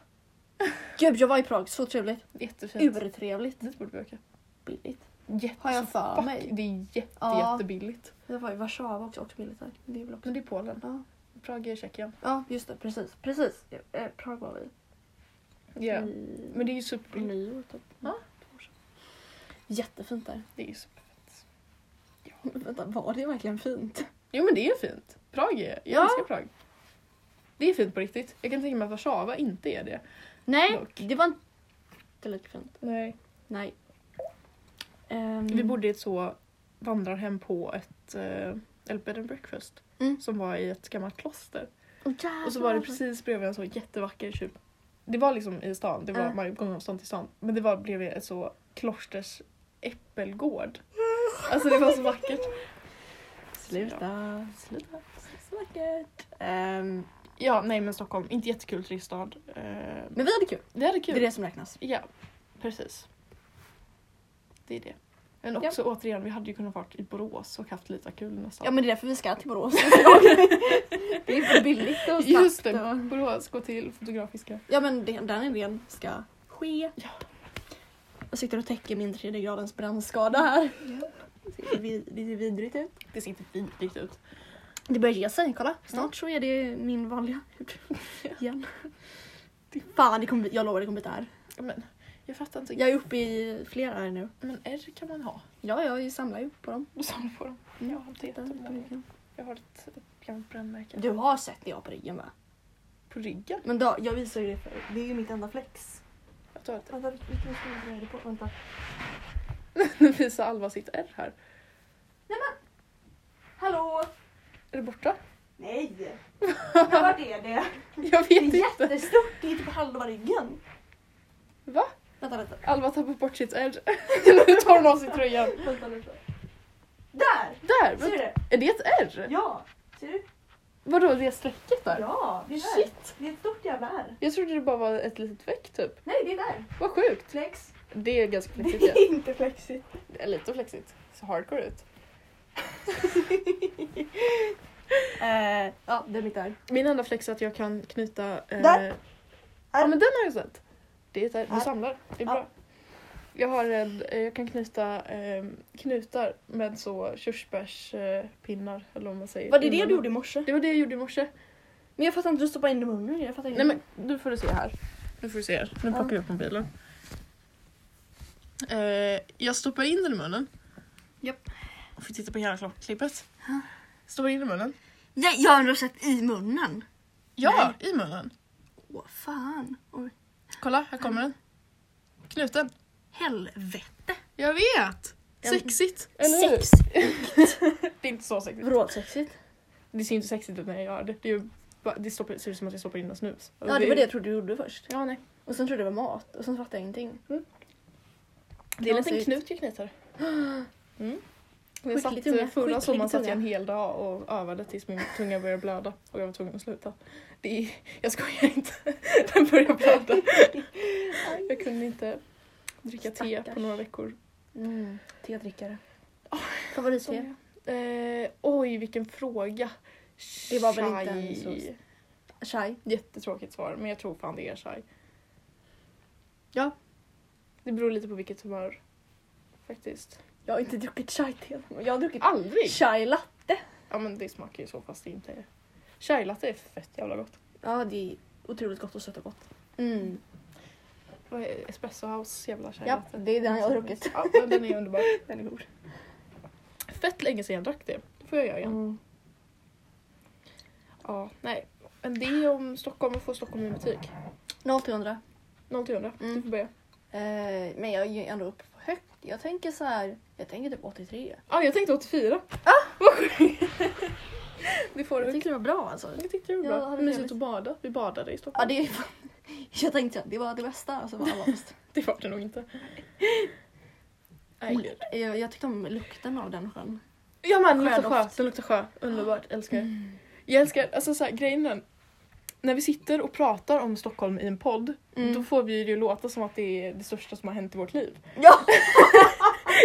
Speaker 2: Gud, jag var i Prag. Så trevligt.
Speaker 1: Jättefint.
Speaker 2: Urtrevligt.
Speaker 1: Dit borde vi åka.
Speaker 2: Billigt.
Speaker 1: Jätte-
Speaker 2: Har jag för
Speaker 1: fuck,
Speaker 2: mig.
Speaker 1: Det är jätte,
Speaker 2: Ja.
Speaker 1: jättebilligt.
Speaker 2: Jag var i Warszawa också. Också billigt där. Det är väl också...
Speaker 1: Men det är Polen.
Speaker 2: Ja.
Speaker 1: Prag är Tjeckien.
Speaker 2: ja, just det. Precis. Precis. Eh, Prag var vi.
Speaker 1: Ja.
Speaker 2: I...
Speaker 1: Men det är ju
Speaker 2: på
Speaker 1: superbilligt.
Speaker 2: nyår typ.
Speaker 1: Ja.
Speaker 2: Två år sedan. Jättefint där. (laughs)
Speaker 1: Det är ju super...
Speaker 2: Vänta, var det verkligen fint?
Speaker 1: Jo men det är fint. Prag är, jag
Speaker 2: Ja.
Speaker 1: älskar Prag. Det är fint på riktigt. Jag kan tänka mig att Warszawa inte är det.
Speaker 2: Nej,
Speaker 1: Dock.
Speaker 2: det var inte lika fint.
Speaker 1: Nej.
Speaker 2: Nej. Ehm,
Speaker 1: Mm. Vi bodde i ett så vandrarhem på ett eh, eller bed and breakfast
Speaker 2: Mm. Ah,
Speaker 1: som var i ett gammalt kloster.
Speaker 2: Åh,
Speaker 1: Och så var det
Speaker 2: jävlar.
Speaker 1: precis bredvid en så jättevacker typ. Det var liksom i stan, det var
Speaker 2: Ja.
Speaker 1: uh. gångavstånd till stan. Men det var bredvid ett så klosters
Speaker 2: (laughs)
Speaker 1: äppelgård. Alltså det var så vackert.
Speaker 2: Sluta. Sluta. Så vackert. Ehm,
Speaker 1: Ja, nej men Stockholm, inte jättekul turiststad. Eh,
Speaker 2: men vi hade kul.
Speaker 1: det hade
Speaker 2: Det
Speaker 1: kul.
Speaker 2: är det som räknas.
Speaker 1: Ja, precis. Det är det. Men
Speaker 2: Ja.
Speaker 1: också återigen, vi hade ju kunnat varit i Borås och haft lite kul nästan.
Speaker 2: Ja men det är därför vi ska till (laughs) Borås. det är för billigt och snabbt.
Speaker 1: Just det,
Speaker 2: Och...
Speaker 1: Borås, gå till Fotografiska.
Speaker 2: Ja men det, den idén ska ske.
Speaker 1: Ja.
Speaker 2: Jag sitter och täcker min tredje gradens brandskada här. Det ser vid- det ser vidrigt ut.
Speaker 1: Det ser inte vidrigt ut.
Speaker 2: Det börjar ge sig, kolla. Snart
Speaker 1: Mm.
Speaker 2: så är det min vanliga hud. (laughs) Igen. Fan, det kommer, bli- jag lovar det kommer bli där.
Speaker 1: Ja, Men, jag fattar inte.
Speaker 2: Jag är uppe i flera här nu.
Speaker 1: Men R kan man ha. (laughs)
Speaker 2: Ja, jag samlar ju på dem.
Speaker 1: Du samlar på dem.
Speaker 2: Mm.
Speaker 1: Jag har inte jättemånga. Jag har ett, ett gammalt brännmärke.
Speaker 2: Du Mm. har sett det jag har på ryggen va?
Speaker 1: På ryggen?
Speaker 2: Men då, jag visar ju det för Det är ju mitt enda flex.
Speaker 1: Jag tar ett.
Speaker 2: Vänta, vilken stor är det på? Vänta.
Speaker 1: (laughs) Nu visar Alva sitt R här.
Speaker 2: Hallå!
Speaker 1: Är det borta?
Speaker 2: (laughs) Nej! (laughs) Vart är det?
Speaker 1: Jag vet
Speaker 2: Det är
Speaker 1: inte.
Speaker 2: jättestort, det är typ halva ryggen.
Speaker 1: Va?
Speaker 2: Vänta, vänta.
Speaker 1: Alva tappar bort
Speaker 2: (laughs)
Speaker 1: sitt R. nu tar hon av sig tröjan.
Speaker 2: vänta nu. Där! Ser
Speaker 1: Där!
Speaker 2: du
Speaker 1: vänta.
Speaker 2: det?
Speaker 1: Är det ett R?
Speaker 2: Ja! Ser du?
Speaker 1: Vadå, det strecket där?
Speaker 2: Ja! Det är där.
Speaker 1: Shit!
Speaker 2: Det är ett stort jävla ärr.
Speaker 1: Jag trodde det bara var ett litet veck typ.
Speaker 2: Nej, det är där.
Speaker 1: Vad sjukt!
Speaker 2: Flex.
Speaker 1: Det är ganska
Speaker 2: Det
Speaker 1: flexigt. ja.
Speaker 2: är inte flexigt.
Speaker 1: Det är lite flexigt. Så hardcore ut.
Speaker 2: Eh, ja, det är mitt ärr.
Speaker 1: Min enda flex är att jag kan knyta... Eh...
Speaker 2: Där!
Speaker 1: Ja men den har jag sett. Det är där.
Speaker 2: Här.
Speaker 1: Du samlar. Det är
Speaker 2: Ja.
Speaker 1: bra. Jag, har en, eh, jag kan knyta eh, knutar med så körsbärspinnar eh, pinnar, eller vad man säger.
Speaker 2: Var det det
Speaker 1: Mm.
Speaker 2: du gjorde i morse?
Speaker 1: Det var det jag gjorde i morse.
Speaker 2: Men jag fattar inte, du stoppar in dem i munnen. Jag fattar inte.
Speaker 1: Nej men nu får du se här. Nu får du se här. Nu plockar jag upp mobilen. Eh, jag stoppar in den i munnen.
Speaker 2: Japp.
Speaker 1: Och får titta på hela klockklippet.
Speaker 2: Ja.
Speaker 1: Stoppar in den i munnen.
Speaker 2: Nej, jag har ändå sett i munnen.
Speaker 1: Ja, i munnen.
Speaker 2: Åh fan. Oj.
Speaker 1: Kolla, här kommer den. Knuten.
Speaker 2: Helvete.
Speaker 1: Jag vet!
Speaker 2: Ja.
Speaker 1: Sexigt.
Speaker 2: Sex.
Speaker 1: Det är inte så sexigt.
Speaker 2: Vrålsexigt.
Speaker 1: Det ser inte sexigt ut när jag gör det. Det, är ju bara, det stoppar, ser ut som att jag stoppar in en snus.
Speaker 2: Ja, det var det jag trodde du gjorde först.
Speaker 1: Ja, nej.
Speaker 2: Och sen trodde jag det var mat och sen fattade jag ingenting.
Speaker 1: Det är en liten
Speaker 2: Knasigt.
Speaker 1: knut
Speaker 2: (gasps)
Speaker 1: jag knyter. Mm. Jag
Speaker 2: Skicklig
Speaker 1: satt
Speaker 2: tunga,
Speaker 1: eh, förra
Speaker 2: skicklig
Speaker 1: sommaren satt jag en
Speaker 2: tunga.
Speaker 1: hel dag och övade tills min tunga började blöda och jag var tvungen att sluta. Det är, jag skojar inte. (laughs) Den började blöda. Jag kunde inte dricka te
Speaker 2: Stackars.
Speaker 1: på några veckor.
Speaker 2: Mm. Tedrickare. Favoritte?
Speaker 1: Eh, oj, vilken fråga.
Speaker 2: Det var väl inte en
Speaker 1: Chai.
Speaker 2: sås. Chai.
Speaker 1: Jättetråkigt svar, men jag tror fan det är chai. Ja. Det beror lite på vilket humör. Faktiskt.
Speaker 2: Jag har inte druckit chai-te. Jag har druckit
Speaker 1: Aldrig!
Speaker 2: chai-latte.
Speaker 1: Ja men det smakar ju så fast det inte är... Chai latte är fett jävla gott.
Speaker 2: Ja, det är otroligt gott och sött och gott. Mm.
Speaker 1: Vad är Espresso House jävla chai
Speaker 2: Ja,
Speaker 1: latte?
Speaker 2: det är den jag har druckit.
Speaker 1: Ja, men den är underbar.
Speaker 2: Den är god.
Speaker 1: Fett länge sedan jag drack det. Det får jag göra igen.
Speaker 2: Mm.
Speaker 1: Ja, nej. Men det är om Stockholm och få Stockholm i butik.
Speaker 2: 0800.
Speaker 1: 0-100. Du
Speaker 2: Mm.
Speaker 1: får börja.
Speaker 2: Eh, men jag är ju ändå uppe på högt. Jag tänker så här, jag tänker typ 83.
Speaker 1: Ja, ah, jag tänkte 84. Ah! Vad sjukt! det får
Speaker 2: Jag
Speaker 1: du.
Speaker 2: tyckte det var bra alltså.
Speaker 1: Jag tyckte det var
Speaker 2: Ja, det
Speaker 1: bra.
Speaker 2: hade
Speaker 1: Mysigt
Speaker 2: trevligt.
Speaker 1: att bada. Vi badade i
Speaker 2: Ja,
Speaker 1: Stockholm.
Speaker 2: det är (laughs) Jag tänkte att det var det bästa och så var alla bäst.
Speaker 1: det... var det nog inte. Nej.
Speaker 2: Ol- Jag, jag tyckte om lukten av den sjön.
Speaker 1: Ja men den luktar sjö.
Speaker 2: Sjödoft.
Speaker 1: Den luktar sjö. Underbart. Älskar.
Speaker 2: Mm.
Speaker 1: Jag älskar, alltså så här, grejen är, när vi sitter och pratar om Stockholm i en podd,
Speaker 2: Mm.
Speaker 1: då får vi det ju låta som att det är det största som har hänt i vårt liv. (laughs)
Speaker 2: Ja!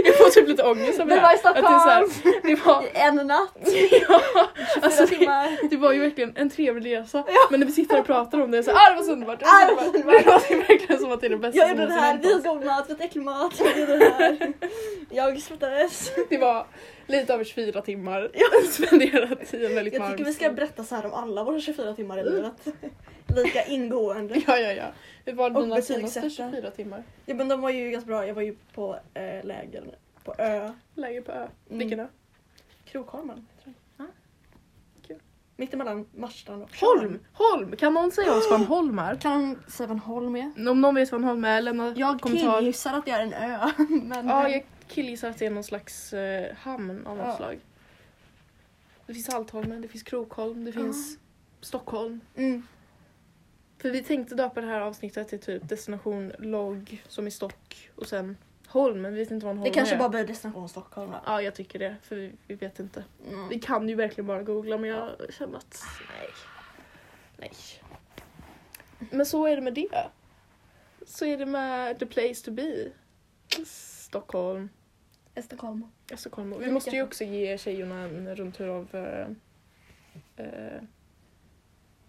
Speaker 1: Jag får typ lite ångest över
Speaker 2: Det
Speaker 1: här.
Speaker 2: var i Stockholm!
Speaker 1: Att det, är så här, det,
Speaker 2: (laughs) (laughs)
Speaker 1: var,
Speaker 2: En natt,
Speaker 1: ja, alltså,
Speaker 2: fyra
Speaker 1: det,
Speaker 2: timmar.
Speaker 1: det var ju verkligen en trevlig resa, men när vi sitter och pratar om det är så här, ah, det var så underbart, det var så
Speaker 2: Ah, det var
Speaker 1: underbart. (laughs) Det låter verkligen som att det är det bästa
Speaker 2: Jag
Speaker 1: som
Speaker 2: gjorde det
Speaker 1: någonsin
Speaker 2: här,
Speaker 1: hänt oss.
Speaker 2: vi åt god mat, vi åt äcklig mat, jag gjorde det (laughs) här. Jag svettades.
Speaker 1: Det var lite över 24 timmar (laughs) spenderat i en väldigt
Speaker 2: Jag
Speaker 1: varm
Speaker 2: tycker vi ska
Speaker 1: stad.
Speaker 2: berätta så här om alla våra 24 timmar i livet. (laughs) Lika ingående.
Speaker 1: Ja, ja, ja. Hur var
Speaker 2: Och
Speaker 1: dina senaste
Speaker 2: betygsätta.
Speaker 1: 24 timmar?
Speaker 2: Ja men de var ju ganska bra, jag var ju på eh, läger på ö.
Speaker 1: Läger på ö.
Speaker 2: Mm.
Speaker 1: Vilken ö?
Speaker 2: Krokholmen heter den.
Speaker 1: Ja. Kul.
Speaker 2: Mittemellan Marstrand och
Speaker 1: Holm! Holm! Kan någon säga oss vad en holm är?
Speaker 2: Kan säga vad en holm är?
Speaker 1: (gasps) Om någon vet vad en holm är, lämna en
Speaker 2: Jag
Speaker 1: kommentar.
Speaker 2: killgissar att det är en ö. (laughs) Men
Speaker 1: Ja, jag killgissar att det är någon slags eh, hamn av något
Speaker 2: Ja.
Speaker 1: slag. Det finns Saltholmen, det finns Krokholm, det finns Stockholm.
Speaker 2: Mm.
Speaker 1: För vi tänkte döpa det här avsnittet till typ destination logg som i stock och sen holm, men vi vet inte vad en holm
Speaker 2: Det kanske
Speaker 1: är.
Speaker 2: bara blir destination Stockholm då.
Speaker 1: Ja, jag tycker det, för vi, vi vet inte. Vi
Speaker 2: Mm.
Speaker 1: kan ju verkligen bara googla men jag känner att nej. Nej. Men så är det med det. Så är det med the place to be. Stockholm.
Speaker 2: Stockholm.
Speaker 1: Ja, Stockholm. Vi måste ju också ge tjejerna en rundtur av eh, eh,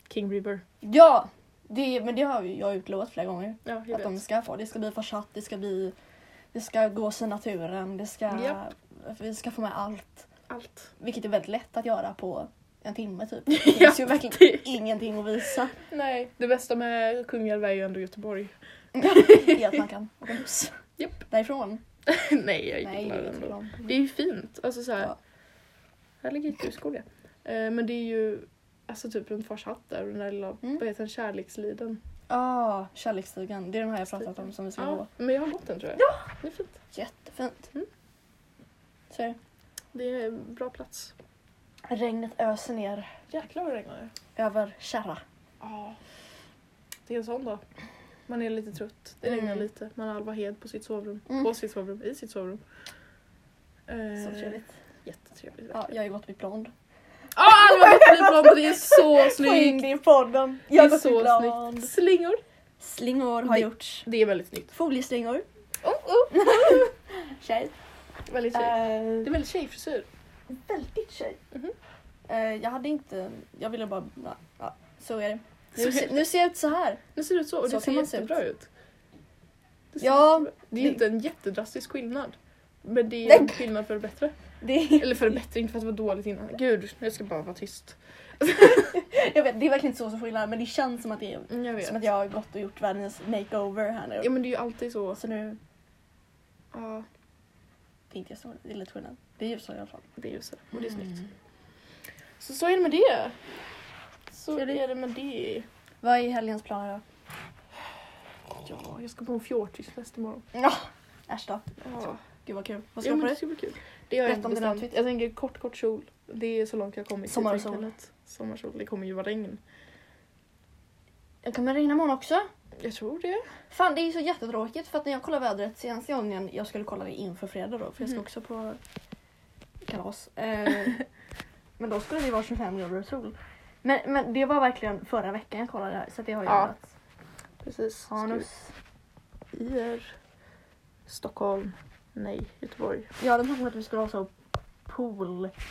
Speaker 1: King River.
Speaker 2: Ja! Det, men det har ju jag utlovat flera gånger.
Speaker 1: Ja, jag
Speaker 2: Att de
Speaker 1: vet.
Speaker 2: ska få. Det ska bli fortsatt, det ska bli... Det ska gås i naturen, det ska...
Speaker 1: Japp.
Speaker 2: Vi ska få med allt.
Speaker 1: Allt.
Speaker 2: Vilket är väldigt lätt att göra på en timme
Speaker 1: (laughs)
Speaker 2: typ. Det
Speaker 1: Ja,
Speaker 2: finns ju verkligen ingenting att visa.
Speaker 1: Nej, det bästa med Kungälv är ju ändå Göteborg.
Speaker 2: Det är att man
Speaker 1: (laughs)
Speaker 2: kan åka buss.
Speaker 1: Japp.
Speaker 2: Därifrån?
Speaker 1: (laughs) nej, jag
Speaker 2: Nej,
Speaker 1: gillar
Speaker 2: det
Speaker 1: det
Speaker 2: vet
Speaker 1: ändå.
Speaker 2: jag
Speaker 1: Det är ju fint. Alltså så här,
Speaker 2: Ja.
Speaker 1: Här ligger ett grusskog ja. Eh, Men det är ju alltså typ runt Fars hatt där, den där lilla,
Speaker 2: Mm.
Speaker 1: vad heter den, kärleksliden.
Speaker 2: Ah, kärleksstugan. Det är den här jag pratat om som vi ska gå.
Speaker 1: Ja, men jag har gått den tror jag. Ja! Det är fint.
Speaker 2: Jättefint.
Speaker 1: Mm.
Speaker 2: Så är det.
Speaker 1: Det är en bra plats.
Speaker 2: Regnet öser ner
Speaker 1: Jäklar vad det regnar.
Speaker 2: över kärra.
Speaker 1: Ja. Det är en sån dag. Man är lite trött, det regnar
Speaker 2: Mm.
Speaker 1: lite. Man har Alva Hed på sitt sovrum.
Speaker 2: Mm.
Speaker 1: På sitt sovrum, i sitt sovrum. Eh,
Speaker 2: Så trevligt.
Speaker 1: Jättetrevligt.
Speaker 2: Ja,
Speaker 1: verkligen.
Speaker 2: jag har ju gått vid blond.
Speaker 1: Ah, Alva Hed blir blond, det är så
Speaker 2: Få in
Speaker 1: snyggt!
Speaker 2: det i podden.
Speaker 1: Det
Speaker 2: Jag har
Speaker 1: är
Speaker 2: gått vid
Speaker 1: så
Speaker 2: blond.
Speaker 1: snyggt. Slingor.
Speaker 2: Slingor har
Speaker 1: Det-
Speaker 2: gjorts.
Speaker 1: Det är väldigt snyggt.
Speaker 2: Folieslingor.
Speaker 1: Oh, oh.
Speaker 2: (laughs) Tjej.
Speaker 1: Väldigt tjej. Det är
Speaker 2: Eh,
Speaker 1: väldigt tjejfrisyr.
Speaker 2: väldigt tjej.
Speaker 1: Mhm.
Speaker 2: Eh, jag hade inte... Jag ville bara... Ja, ja, så är det.
Speaker 1: Så är
Speaker 2: Nu, se, nu ser jag ut så här.
Speaker 1: Nu ser det ut så och
Speaker 2: Så
Speaker 1: det ser
Speaker 2: kan man se
Speaker 1: jättebra ut. Det ser
Speaker 2: Ja,
Speaker 1: jättebra- Det är
Speaker 2: det-
Speaker 1: inte en jättedrastisk skillnad. Men det är
Speaker 2: Nej.
Speaker 1: en skillnad för det bättre.
Speaker 2: Det är...
Speaker 1: Eller för det bättre, inte för att det var dåligt innan. Gud, jag ska bara vara tyst.
Speaker 2: (laughs) jag vet, det är verkligen inte så stor skillnad men det känns som att, det är,
Speaker 1: Mm, Jag vet.
Speaker 2: som att jag har gått och gjort världens makeover här nu.
Speaker 1: Ja men det är ju alltid så.
Speaker 2: Så nu
Speaker 1: Ja,
Speaker 2: tänkte jag så, det är lite skillnad. Det är ju så i alla fall.
Speaker 1: det är ju så. Och det är snyggt. Så så är det med det. Så
Speaker 2: Ska
Speaker 1: är
Speaker 2: du-
Speaker 1: det, med det.
Speaker 2: Vad är helgens planer då?
Speaker 1: Ja, jag ska på en fjortisfest imorgon.
Speaker 2: Ja, äsch då.
Speaker 1: Ja.
Speaker 2: Gud vad kul. Vad ska
Speaker 1: Ja,
Speaker 2: du
Speaker 1: men
Speaker 2: på
Speaker 1: det
Speaker 2: det?
Speaker 1: ska bli kul. Det har jag
Speaker 2: Berätta
Speaker 1: inte
Speaker 2: om dina
Speaker 1: bestämt. Jag tänker kort, kort kjol. Det är så långt jag har kommit i
Speaker 2: Sommarsol.
Speaker 1: tänkandet. Sommarsol. Det kommer ju vara regn.
Speaker 2: Jag kommer ringa imorgon också.
Speaker 1: Jag tror det.
Speaker 2: Fan det är ju så jättetråkigt för att när jag kollar vädret senaste gången jag skulle kolla det inför fredag då för jag ska
Speaker 1: Mhm.
Speaker 2: också på kalas. Eh, (laughs) men då skulle det ju vara 25 grader och sol. Men, men det var verkligen förra veckan jag kollade det här så att det har ju
Speaker 1: Ja.
Speaker 2: ändrats.
Speaker 1: Precis.
Speaker 2: Hanus.
Speaker 1: Ir. Stockholm. Nej, Göteborg.
Speaker 2: Ja de pratade om att vi skulle ha så poolpartaj.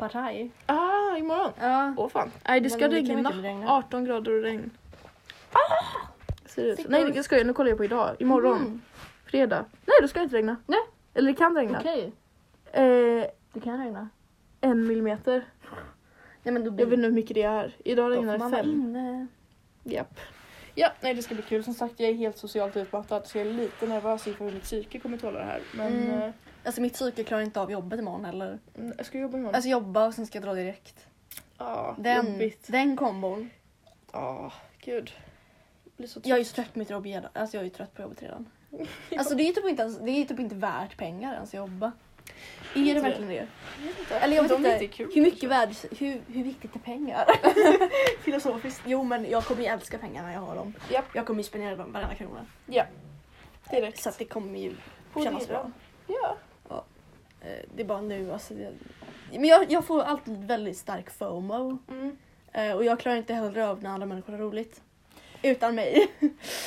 Speaker 1: Ah, imorgon.
Speaker 2: Ja.
Speaker 1: Åh fan. Nej, det ska
Speaker 2: Men det kan
Speaker 1: regna.
Speaker 2: mycket regna.
Speaker 1: 18 grader och regn. Ah! Ser det ut så?
Speaker 2: Fick
Speaker 1: Nej,
Speaker 2: du-
Speaker 1: jag skojar. Nu kollar jag på idag. Imorgon.
Speaker 2: Mm.
Speaker 1: Fredag. Nej, då ska det inte regna.
Speaker 2: Nej.
Speaker 1: Eller det kan regna.
Speaker 2: Okej,
Speaker 1: Eh,
Speaker 2: det kan regna.
Speaker 1: en millimeter.
Speaker 2: Nej men då
Speaker 1: Jag
Speaker 2: blir
Speaker 1: vet inte hur mycket det är. Idag
Speaker 2: Mm. då får
Speaker 1: regnar det
Speaker 2: man vara
Speaker 1: fem.
Speaker 2: inne.
Speaker 1: Japp. Ja, nej det ska bli kul. Som sagt, jag är helt socialt utmattad så jag är lite nervös inför hur mitt psyke kommer tåla det här. Men
Speaker 2: Mm.
Speaker 1: eh,
Speaker 2: Alltså mitt psyke klarar inte av jobbet imorgon heller.
Speaker 1: mm, jag ska jobba imorgon.
Speaker 2: Alltså jobba och sen ska jag dra direkt.
Speaker 1: ja,
Speaker 2: Den,
Speaker 1: jobbigt.
Speaker 2: den kombon.
Speaker 1: Ja, gud. Jag blir så
Speaker 2: Jag är ju
Speaker 1: trött.
Speaker 2: så trött på mitt jobb redan. Alltså jag är ju trött på jobbet
Speaker 1: (laughs)
Speaker 2: redan. Alltså det är ju typ inte, ens, det är ju typ inte värt pengar ens att jobba. Är det verkligen det? Eller jag vet
Speaker 1: De är
Speaker 2: inte,
Speaker 1: kul,
Speaker 2: hur mycket
Speaker 1: kanske.
Speaker 2: värd, hur, hur viktigt är pengar? (laughs) Filosofiskt. Jo men jag kommer ju älska pengar när jag har dem.
Speaker 1: Japp.
Speaker 2: Jag kommer ju spendera dem varenda krona.
Speaker 1: Direkt.
Speaker 2: Så att det kommer ju
Speaker 1: På
Speaker 2: kännas
Speaker 1: dyra.
Speaker 2: bra.
Speaker 1: Ja.
Speaker 2: Eh, Det är bara nu alltså. Det, men jag, jag får alltid väldigt stark FOMO.
Speaker 1: Mm.
Speaker 2: Eh, Och jag klarar inte heller av när andra människor har roligt. Utan mig. (laughs)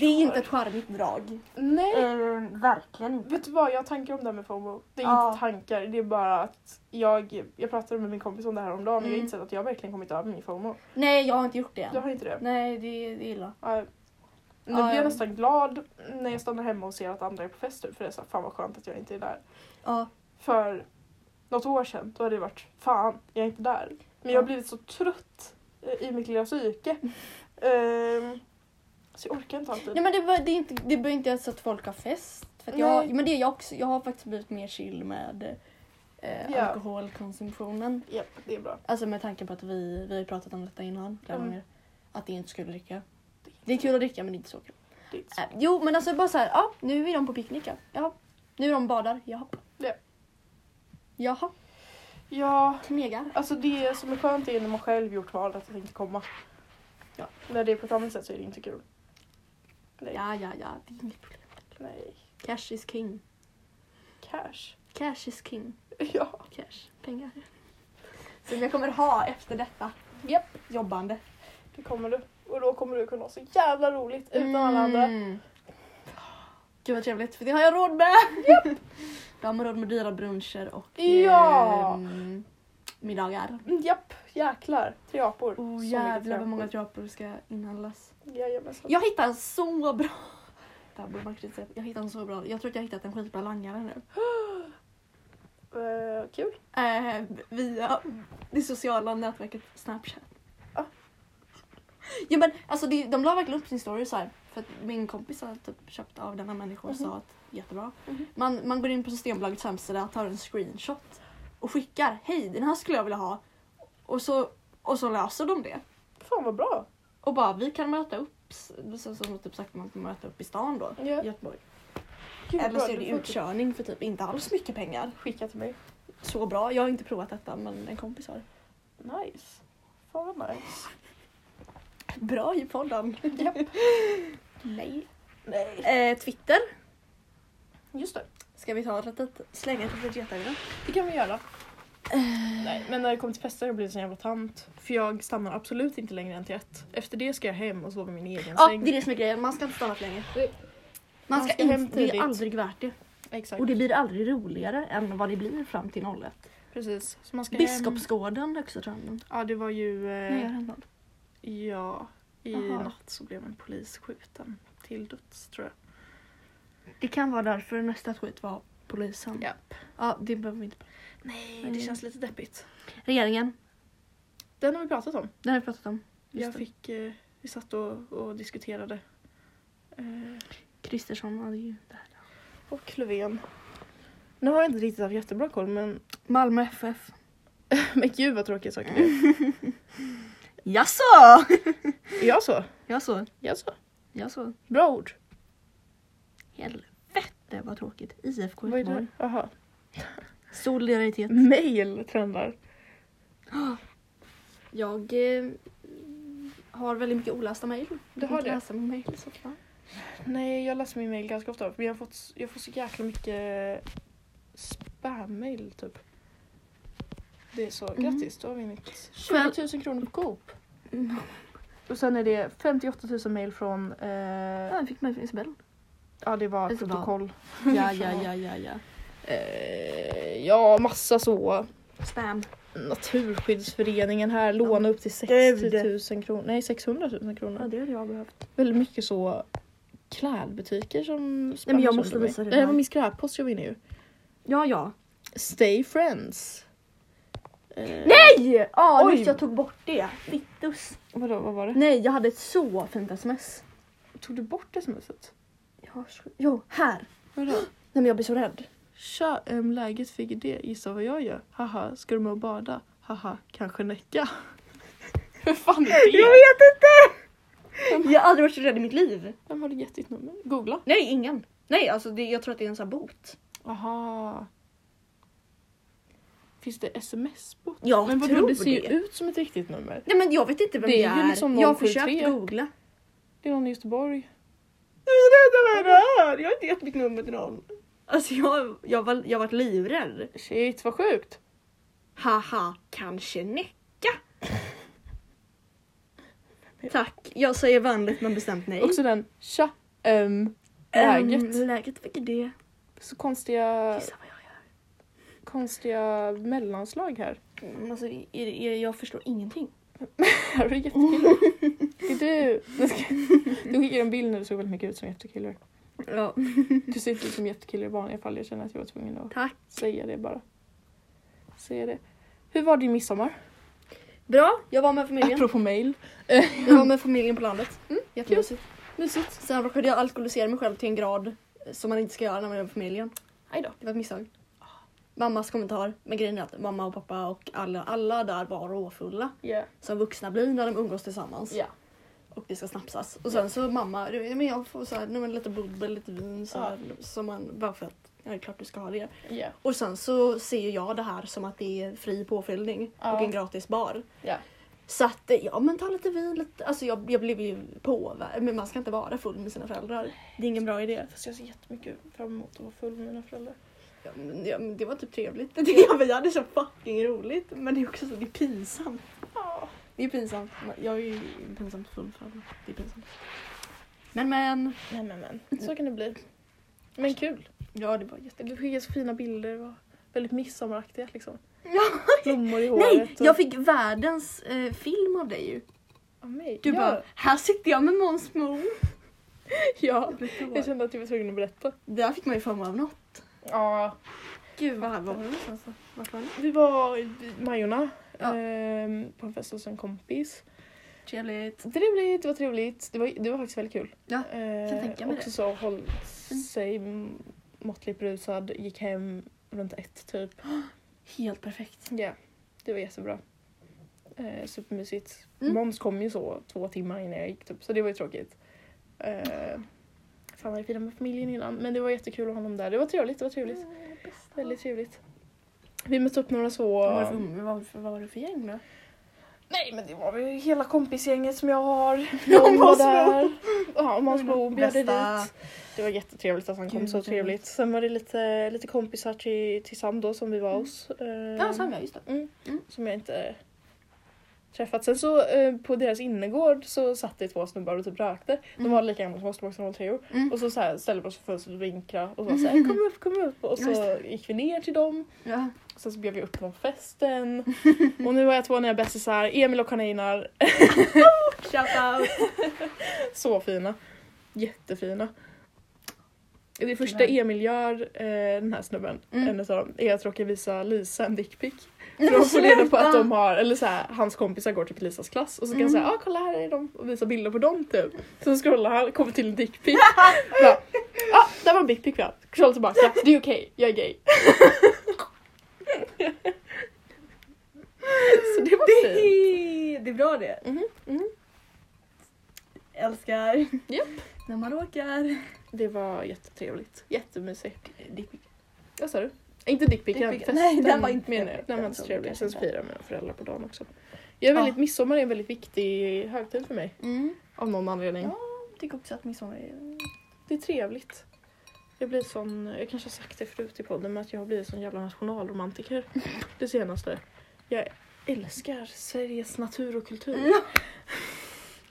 Speaker 2: Det är inte ett charmigt drag.
Speaker 1: Nej.
Speaker 2: Eh, verkligen inte.
Speaker 1: Vet du vad, jag har tankar om det här med FOMO. Det är
Speaker 2: Ja.
Speaker 1: inte tankar, det är bara att jag, jag pratade med min kompis om det här om dagen och jag har
Speaker 2: Mm.
Speaker 1: insett att jag verkligen kommit över min FOMO.
Speaker 2: Nej, jag har inte gjort det
Speaker 1: Du
Speaker 2: än.
Speaker 1: har inte det?
Speaker 2: Nej, det, det är illa.
Speaker 1: Ja. Nu
Speaker 2: Mm. Ja,
Speaker 1: blir
Speaker 2: ja.
Speaker 1: jag nästan glad när jag stannar hemma och ser att andra är på fest typ, för det är så här, fan vad skönt att jag inte är där.
Speaker 2: Ja.
Speaker 1: För något år sedan då hade det varit fan, jag är inte där. Men jag har
Speaker 2: Ja.
Speaker 1: blivit så trött eh, i mitt
Speaker 2: (laughs)
Speaker 1: lilla psyke. Ehm, så jag orkar inte alltid.
Speaker 2: Nej, men det, bör- det, är inte, det behöver inte ens att folk har fest. För att jag,
Speaker 1: Nej.
Speaker 2: men det är jag också. Jag har faktiskt blivit mer chill med eh,
Speaker 1: Ja.
Speaker 2: alkoholkonsumtionen.
Speaker 1: Japp, det är bra.
Speaker 2: Alltså med tanke på att vi, vi har ju pratat om detta innan flera
Speaker 1: Mm.
Speaker 2: gånger. Att det inte skulle dricka. Det är kul att dricka men det är inte så kul.
Speaker 1: Det är inte så.
Speaker 2: Äh, jo men alltså bara så här, ja nu är de på picknick ja. Jaha. Nu är de badar, jaha.
Speaker 1: Ja.
Speaker 2: Jaha,
Speaker 1: Ja,
Speaker 2: knegar.
Speaker 1: Alltså det som är skönt är när man själv gjort valet att inte komma.
Speaker 2: Ja.
Speaker 1: När det är på ett annat sätt så är det inte kul. Nej.
Speaker 2: Ja, ja, ja, det är inget problem.
Speaker 1: Nej.
Speaker 2: Cash is king.
Speaker 1: Cash. (laughs)
Speaker 2: Cash is king.
Speaker 1: Ja.
Speaker 2: Cash. Pengar. Som jag kommer ha efter detta.
Speaker 1: Japp.
Speaker 2: Jobbande.
Speaker 1: Det kommer du. Och då kommer du kunna ha så jävla roligt
Speaker 2: Mm.
Speaker 1: utan alla andra.
Speaker 2: Gud vad trevligt, för det har jag råd med. (laughs) Då har man råd med dyra bruncher och
Speaker 1: Ja.
Speaker 2: ehm, middagar.
Speaker 1: Mm, Japp. Jäklar. Tre apor.
Speaker 2: Oh
Speaker 1: Så
Speaker 2: jävlar
Speaker 1: mycket
Speaker 2: vad många
Speaker 1: apor.
Speaker 2: trapor ska inhandlas.
Speaker 1: Jajamensan.
Speaker 2: Jag hittade en så bra... (laughs) Det här borde man kanske inte säga. Jag hittade en så bra... Jag tror att jag hittat en skitbra langare nu.
Speaker 1: Eh, kul.
Speaker 2: Eh, via det sociala nätverket Snapchat.
Speaker 1: Ah.
Speaker 2: Ja men alltså det, de la verkligen upp sin story så här. För att min kompis har typ köpt av denna människa och sa att jättebra.
Speaker 1: Mhm.
Speaker 2: Man, man går in på Systembolagets hemsida, tar en screenshot och skickar. Hej den här skulle jag vilja ha. Och så, och så löser de det.
Speaker 1: Fan vad bra.
Speaker 2: Och bara vi kan möta upp. s- Så, så, typ sagt att man kan möta upp i stan då.
Speaker 1: Ja.
Speaker 2: i Göteborg.
Speaker 1: Gud, vad
Speaker 2: Eller
Speaker 1: bra.
Speaker 2: så är det
Speaker 1: Du får typ
Speaker 2: utkörning för typ inte alls mycket pengar.
Speaker 1: Skicka till mig.
Speaker 2: Så bra. Jag har inte provat detta men en kompis har.
Speaker 1: Nice. Fan vad nice.
Speaker 2: Bra i podden.
Speaker 1: Japp.
Speaker 2: (laughs) Nej.
Speaker 1: Nej.
Speaker 2: Eh, Twitter.
Speaker 1: Just det.
Speaker 2: Ska vi ta ett litet slänga ett litet getöga?
Speaker 1: Det kan vi göra. Nej, men när det kommer till fester har jag blivit en jävla tant. För jag stannar absolut inte längre än till ett. Efter det ska jag hem och sova i min egen
Speaker 2: Ja,
Speaker 1: säng.
Speaker 2: det är det som är grejen. Man ska inte stanna för länge.
Speaker 1: Nej.
Speaker 2: Man
Speaker 1: Man
Speaker 2: ska
Speaker 1: ska hem
Speaker 2: inte, det är
Speaker 1: tidigt.
Speaker 2: aldrig värt det.
Speaker 1: Exakt.
Speaker 2: Och det blir aldrig roligare än vad det blir fram till 01.
Speaker 1: Precis. Så man ska hem.
Speaker 2: Biskopsgården, Högstatranden.
Speaker 1: Ja, det var ju...
Speaker 2: Nej, jag har
Speaker 1: Eh,
Speaker 2: en dag.
Speaker 1: ja, i
Speaker 2: Jaha.
Speaker 1: natt så blev en polis skjuten till döds tror jag.
Speaker 2: Det kan vara därför nästa skit var polisen.
Speaker 1: Ja.
Speaker 2: Ja, det behöver vi inte prata
Speaker 1: Nej, det
Speaker 2: Nej.
Speaker 1: känns lite deppigt.
Speaker 2: om. Regeringen,
Speaker 1: Den har vi pratat om.
Speaker 2: den har vi pratat om. Just
Speaker 1: Jag
Speaker 2: det.
Speaker 1: fick, eh, vi satt och, och diskuterade. Eh,
Speaker 2: Kristersson hade ju det här.
Speaker 1: och Löfven. Nu har jag inte riktigt haft jättebra koll men, (laughs)
Speaker 2: Malmö FF.
Speaker 1: men gud vad tråkiga saker det (laughs) är.
Speaker 2: Jaså?
Speaker 1: Jag så.
Speaker 2: Jaså?
Speaker 1: Jag så.
Speaker 2: Jaså?
Speaker 1: Bra ord.
Speaker 2: Helvete vad tråkigt. IFK
Speaker 1: Vad är
Speaker 2: Göteborg.
Speaker 1: det? Jaha. (laughs)
Speaker 2: Solidaritet.
Speaker 1: Mail trendar.
Speaker 2: Jag eh, har väldigt mycket olästa mejl.
Speaker 1: Du har
Speaker 2: Inte
Speaker 1: det?
Speaker 2: läsa mina mejl så fan.
Speaker 1: Nej, jag läser min mail ganska ofta. Men jag har fått, jag får så jäkla mycket spam-mail typ. Det är så,
Speaker 2: Mm.
Speaker 1: grattis du har vunnit
Speaker 2: Kväll-
Speaker 1: 20 000 kronor på Coop.
Speaker 2: Mm.
Speaker 1: (laughs) Och sen är det 58 000 mail från, eh,
Speaker 2: Ja, jag fick mejl från (laughs) Isabelle.
Speaker 1: ja det var
Speaker 2: Det är så bra.
Speaker 1: protokoll.
Speaker 2: Ja, ja, ja, ja, ja.
Speaker 1: Eh, ja, massa så.
Speaker 2: Spam.
Speaker 1: Naturskyddsföreningen här, låna upp till 60 000 kronor. Nej, 600 000 kronor.
Speaker 2: det hade jag behövt.
Speaker 1: väldigt mycket så klädbutiker som
Speaker 2: men jag
Speaker 1: spammar
Speaker 2: måste
Speaker 1: sönder mig.
Speaker 2: visa dig
Speaker 1: Nej,
Speaker 2: den
Speaker 1: det var
Speaker 2: här.
Speaker 1: min skräppost jag vinner ju.
Speaker 2: Ja, ja.
Speaker 1: Stay friends. Eh,
Speaker 2: Nej! Ja,
Speaker 1: Oj.
Speaker 2: just jag tog bort det. Fittus.
Speaker 1: Vadå, vad var det?
Speaker 2: Nej, jag hade ett så fint sms.
Speaker 1: Tog du bort smset?
Speaker 2: Jag har så- Jo, här.
Speaker 1: Vadå?
Speaker 2: Nej men jag blir så rädd.
Speaker 1: Tja, um, läget fick det. Gissa vad jag gör? Haha, ska du med och bada? Haha, kanske näcka. (laughs) Hur fan är det?
Speaker 2: vet inte! Jag har aldrig varit så rädd i mitt liv.
Speaker 1: Vem har du gett ditt nummer? Googla.
Speaker 2: Nej, ingen. Nej, alltså det, jag tror att det är en sån här bot.
Speaker 1: Aha. Finns det sms-bot?
Speaker 2: Jag
Speaker 1: Men vadå,
Speaker 2: tror
Speaker 1: det ser ju
Speaker 2: det.
Speaker 1: ut som ett riktigt nummer.
Speaker 2: Nej men jag vet inte vem
Speaker 1: Det
Speaker 2: det
Speaker 1: är
Speaker 2: är.
Speaker 1: ju liksom
Speaker 2: jag har
Speaker 1: 073.
Speaker 2: försökt googla.
Speaker 1: Det är någon i Göteborg.
Speaker 2: Jag är rädd av det här! Jag har inte gett mitt nummer till någon. Alltså jag, jag, var, jag har varit livrädd.
Speaker 1: Shit, vad sjukt.
Speaker 2: Haha, kanske (laughs) näcka. Tack, jag säger vänligt men bestämt nej.
Speaker 1: Också den tja, ehm,
Speaker 2: Ehm,
Speaker 1: läget.
Speaker 2: läget, vilket det?
Speaker 1: Så konstiga,
Speaker 2: Gissa vad jag gör.
Speaker 1: konstiga mellanslag här. (laughs)
Speaker 2: Mm, alltså, är, det- är, jag förstår ingenting.
Speaker 1: Här är det jättekillar. (laughs) Är du? Nej, ska- Du skickar en bild när du såg väldigt mycket ut som jättekillar.
Speaker 2: Ja,
Speaker 1: Du ser inte ut som jättekillar i vanliga fall. Jag känner att jag var tvungen att
Speaker 2: tack.
Speaker 1: säga det bara. Säga det. Hur var din midsommar?
Speaker 2: Bra, jag var med familjen.
Speaker 1: Apropå mail.
Speaker 2: Jag var med familjen på landet.
Speaker 1: Mm,
Speaker 2: Jättemysigt.
Speaker 1: Mysigt.
Speaker 2: Sen råkade jag alkoholisera mig själv till en grad som man inte ska göra när man är med familjen.
Speaker 1: Aj då.
Speaker 2: Det var ett misstag. Mammas kommentar. Men grejen är att mamma och pappa och alla, alla där var råfulla.
Speaker 1: Ja.
Speaker 2: Som vuxna blir när de umgås tillsammans.
Speaker 1: Ja.
Speaker 2: Och det ska snapsas. Och sen så mamma, du vet, men jag får så här, nej, men lite bubbel, lite vin så här, som man, bara för att, ja det är klart du ska ha det.
Speaker 1: Ja.
Speaker 2: Och sen så ser ju jag det här som att det är fri påfyllning
Speaker 1: Ja.
Speaker 2: och en gratis bar.
Speaker 1: Ja.
Speaker 2: Så att eh, ja men ta lite vin, lite, alltså jag, jag blev ju påverkad. Men man ska inte vara full med sina föräldrar. Det är ingen bra idé.
Speaker 1: Fast jag ser jättemycket fram emot att vara full med mina föräldrar.
Speaker 2: Ja, men, ja, men det var typ trevligt. Det, (laughs) ja, vi hade så fucking roligt. Men det är också så, det är pinsamt.
Speaker 1: Ja.
Speaker 2: Det är pinsamt. Jag är ju pinsamt full för alla. Det är pinsamt. Men men.
Speaker 1: Nej men men, så kan det bli. Men kul.
Speaker 2: Ja det var jätte...
Speaker 1: Du skickade så fina bilder, det var väldigt midsommaraktiga liksom.
Speaker 2: (laughs) Ja.
Speaker 1: Blommor i håret.
Speaker 2: Nej! Jag fick världens eh, film av dig ju.
Speaker 1: Av mig.
Speaker 2: Du
Speaker 1: ja.
Speaker 2: bara, här sitter jag med Måns Mo.
Speaker 1: Ja. Jag
Speaker 2: Det
Speaker 1: kände att jag var tvungen att berätta.
Speaker 2: där fick man ju fram av något.
Speaker 1: Ja.
Speaker 2: Gud vad här var vi någonstans då? Vart var ni?
Speaker 1: Vi var i Majorna
Speaker 2: Alltså. Ja.
Speaker 1: ehm, på en fest hos en kompis.
Speaker 2: Trevligt.
Speaker 1: Trevligt, det var trevligt. Det var, det var faktiskt väldigt kul.
Speaker 2: Ja,
Speaker 1: Eh,
Speaker 2: kan tänka mig
Speaker 1: Också
Speaker 2: det. Mm.
Speaker 1: så håll sig m- måttligt berusad, gick hem runt ett typ.
Speaker 2: Helt perfekt.
Speaker 1: Ja, det var jättebra. Eh, supermysigt.
Speaker 2: Mm.
Speaker 1: Måns kom ju så två timmar innan jag gick typ, så det var ju tråkigt. Eh, fan vad det fina med familjen innan. Men det var jättekul att ha honom där. Det var trevligt, det var trevligt. Väldigt trevligt. Vi mötte upp några så...
Speaker 2: Vad var, det för, vad, var det för, vad var det för gäng då?
Speaker 1: Nej men det var väl hela kompisgänget som jag har. (laughs)
Speaker 2: Ja,
Speaker 1: Någon
Speaker 2: (laughs)
Speaker 1: var
Speaker 2: Måns
Speaker 1: där. Ja, Måns
Speaker 2: Det var
Speaker 1: Bo
Speaker 2: det
Speaker 1: bjöd
Speaker 2: Mm, bästa.
Speaker 1: dit. Det var jättetrevligt att han kom,
Speaker 2: Gud,
Speaker 1: så
Speaker 2: vad trevligt.
Speaker 1: trevligt. Sen var det lite, lite kompisar till, till Sam då som vi var
Speaker 2: Mm.
Speaker 1: hos. Eh,
Speaker 2: Ja, Sanja, just det. mm.
Speaker 1: som jag inte träffat. Sen så eh, på deras innergård så satt det två snubbar och typ rökte. De
Speaker 2: Mm.
Speaker 1: var lika gamla som oss, de var också 03 år.
Speaker 2: Mm.
Speaker 1: Och så, så här, ställde vi oss för fönstret och vinklade och var
Speaker 2: (laughs)
Speaker 1: så här, kom upp, kom upp. Och
Speaker 2: Ja, just
Speaker 1: så gick vi ner till dem.
Speaker 2: Ja.
Speaker 1: Sen så bjöd vi upp dem på
Speaker 2: (laughs)
Speaker 1: festen. Och nu har jag två nya bästisar, Emil och (clears throat) Karl-Einar.
Speaker 2: Shout out!
Speaker 1: Så fina. Jättefina. Det första
Speaker 2: Tyvärr.
Speaker 1: Emil gör, eh, den här snubben,
Speaker 2: Mm.
Speaker 1: en av dem, är att råka visa Lisa en dickpic. För att få reda på att de har, eller så här, hans kompisar går typ i Lisas klass och så kan han
Speaker 2: Mm.
Speaker 1: säga ah, kolla här är de och visa bilder på dem typ. Så scrollar han, kommer till en (laughs) dickpic. Bara, ah, där var en dickpic vi hade. Scrollar tillbaka, det är okej, jag är gay. så det var
Speaker 2: Det
Speaker 1: fint.
Speaker 2: är, det är bra det.
Speaker 1: Mhm, mhm.
Speaker 2: Älskar.
Speaker 1: Japp.
Speaker 2: När man råkar.
Speaker 1: Det var jättetrevligt, jättemysigt.
Speaker 2: Dickpic.
Speaker 1: Vad sa du? Inte dickpicken,
Speaker 2: Dickpicken. Nej, den var inte
Speaker 1: menar jag.
Speaker 2: trevlig.
Speaker 1: Den var
Speaker 2: Den
Speaker 1: inte så
Speaker 2: såg
Speaker 1: trevlig.
Speaker 2: kanske
Speaker 1: Sen så
Speaker 2: inte.
Speaker 1: firar jag med mina föräldrar på dagen också. Jag är väldigt,
Speaker 2: Ja.
Speaker 1: Midsommar är en väldigt viktig högtid för mig.
Speaker 2: Mm.
Speaker 1: Av någon anledning.
Speaker 2: Ja, jag tycker också att midsommar är...
Speaker 1: Det är trevligt. Jag blir sån, jag kanske har sagt det förut i podden men att jag har blivit sån jävla nationalromantiker det senaste. Jag älskar Sveriges natur och kultur.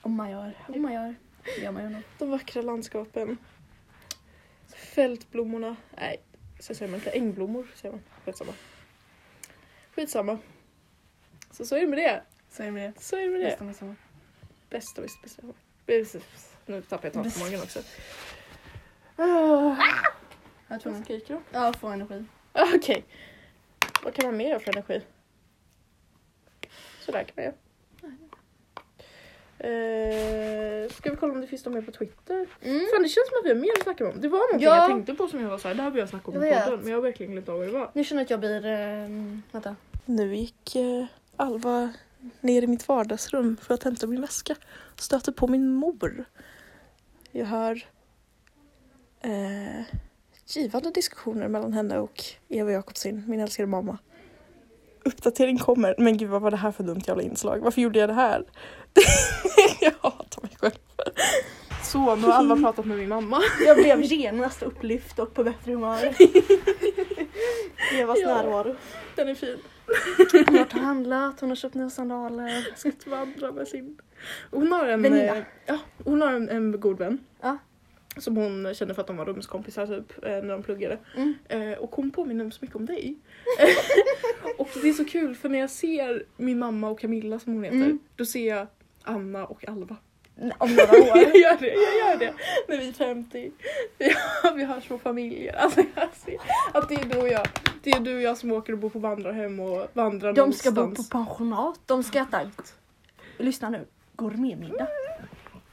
Speaker 2: Om man gör. Om man gör. Det gör man ju nog.
Speaker 1: De vackra landskapen. Fältblommorna. Nej, så säger man inte. Ängblommor säger man. Skitsamma. Skitsamma. Så så är det med det.
Speaker 2: Så är det.
Speaker 1: Så är det med det.
Speaker 2: Nästa midsommar.
Speaker 1: Bästa visst bästa. Bästa. Nu tappar jag talförmågan också. Ah,
Speaker 2: Jag tror
Speaker 1: Vad
Speaker 2: man.
Speaker 1: skriker du?
Speaker 2: Ja, få energi.
Speaker 1: Ah, Okej. Vad kan man mer göra för energi? Sådär kan man göra. Eh, ska vi kolla om det finns något mer på Twitter? Fan det känns som att vi har mer att snacka om. Det var någonting
Speaker 2: Ja.
Speaker 1: jag tänkte på som jag var såhär, det här vill jag snacka om i
Speaker 2: Jag vet.
Speaker 1: podden. Men jag har verkligen glömt av vad det var.
Speaker 2: Nu känner jag att jag blir... ehm,
Speaker 1: (laughs)
Speaker 2: vänta.
Speaker 1: Nu gick eh, Alva ner i mitt vardagsrum för att hämta min väska. Stöter på min mor. Jag hör eh, givande diskussioner mellan henne och Eva Jakobsson, min älskade mamma. Uppdatering kommer. Men gud vad var det här för dumt jävla inslag? Varför gjorde jag det här? (laughs) jag hatar mig själv. Så, nu har Alva pratat med min mamma.
Speaker 2: Jag blev genast upplyft och på bättre
Speaker 1: (laughs)
Speaker 2: humör. Evas
Speaker 1: Ja.
Speaker 2: närvaro.
Speaker 1: (laughs) Den är fin.
Speaker 2: Hon har varit och handlat, hon har köpt nya sandaler.
Speaker 1: Ska inte vandra med sin... Hon har en,
Speaker 2: Väninna.
Speaker 1: eh, ja, hon har en, en god vän.
Speaker 2: Ja.
Speaker 1: Som hon kände för att de var rumskompisar typ eh, när de pluggade.
Speaker 2: Mm.
Speaker 1: Eh, och hon påminner mig så mycket om dig. och det är så kul för när jag ser min mamma och Camilla som hon heter
Speaker 2: Mm.
Speaker 1: då ser jag Anna och Alva.
Speaker 2: Om några år.
Speaker 1: jag gör det, jag gör det. (laughs) När vi är 50. Ja, vi har små familjer. Alltså, jag ser att det är du och jag. Det är du och jag som åker och bor på vandrarhem och vandrar
Speaker 2: De ska bo
Speaker 1: någonstans.
Speaker 2: på pensionat, de ska äta... Lyssna nu. Gourmetmiddag.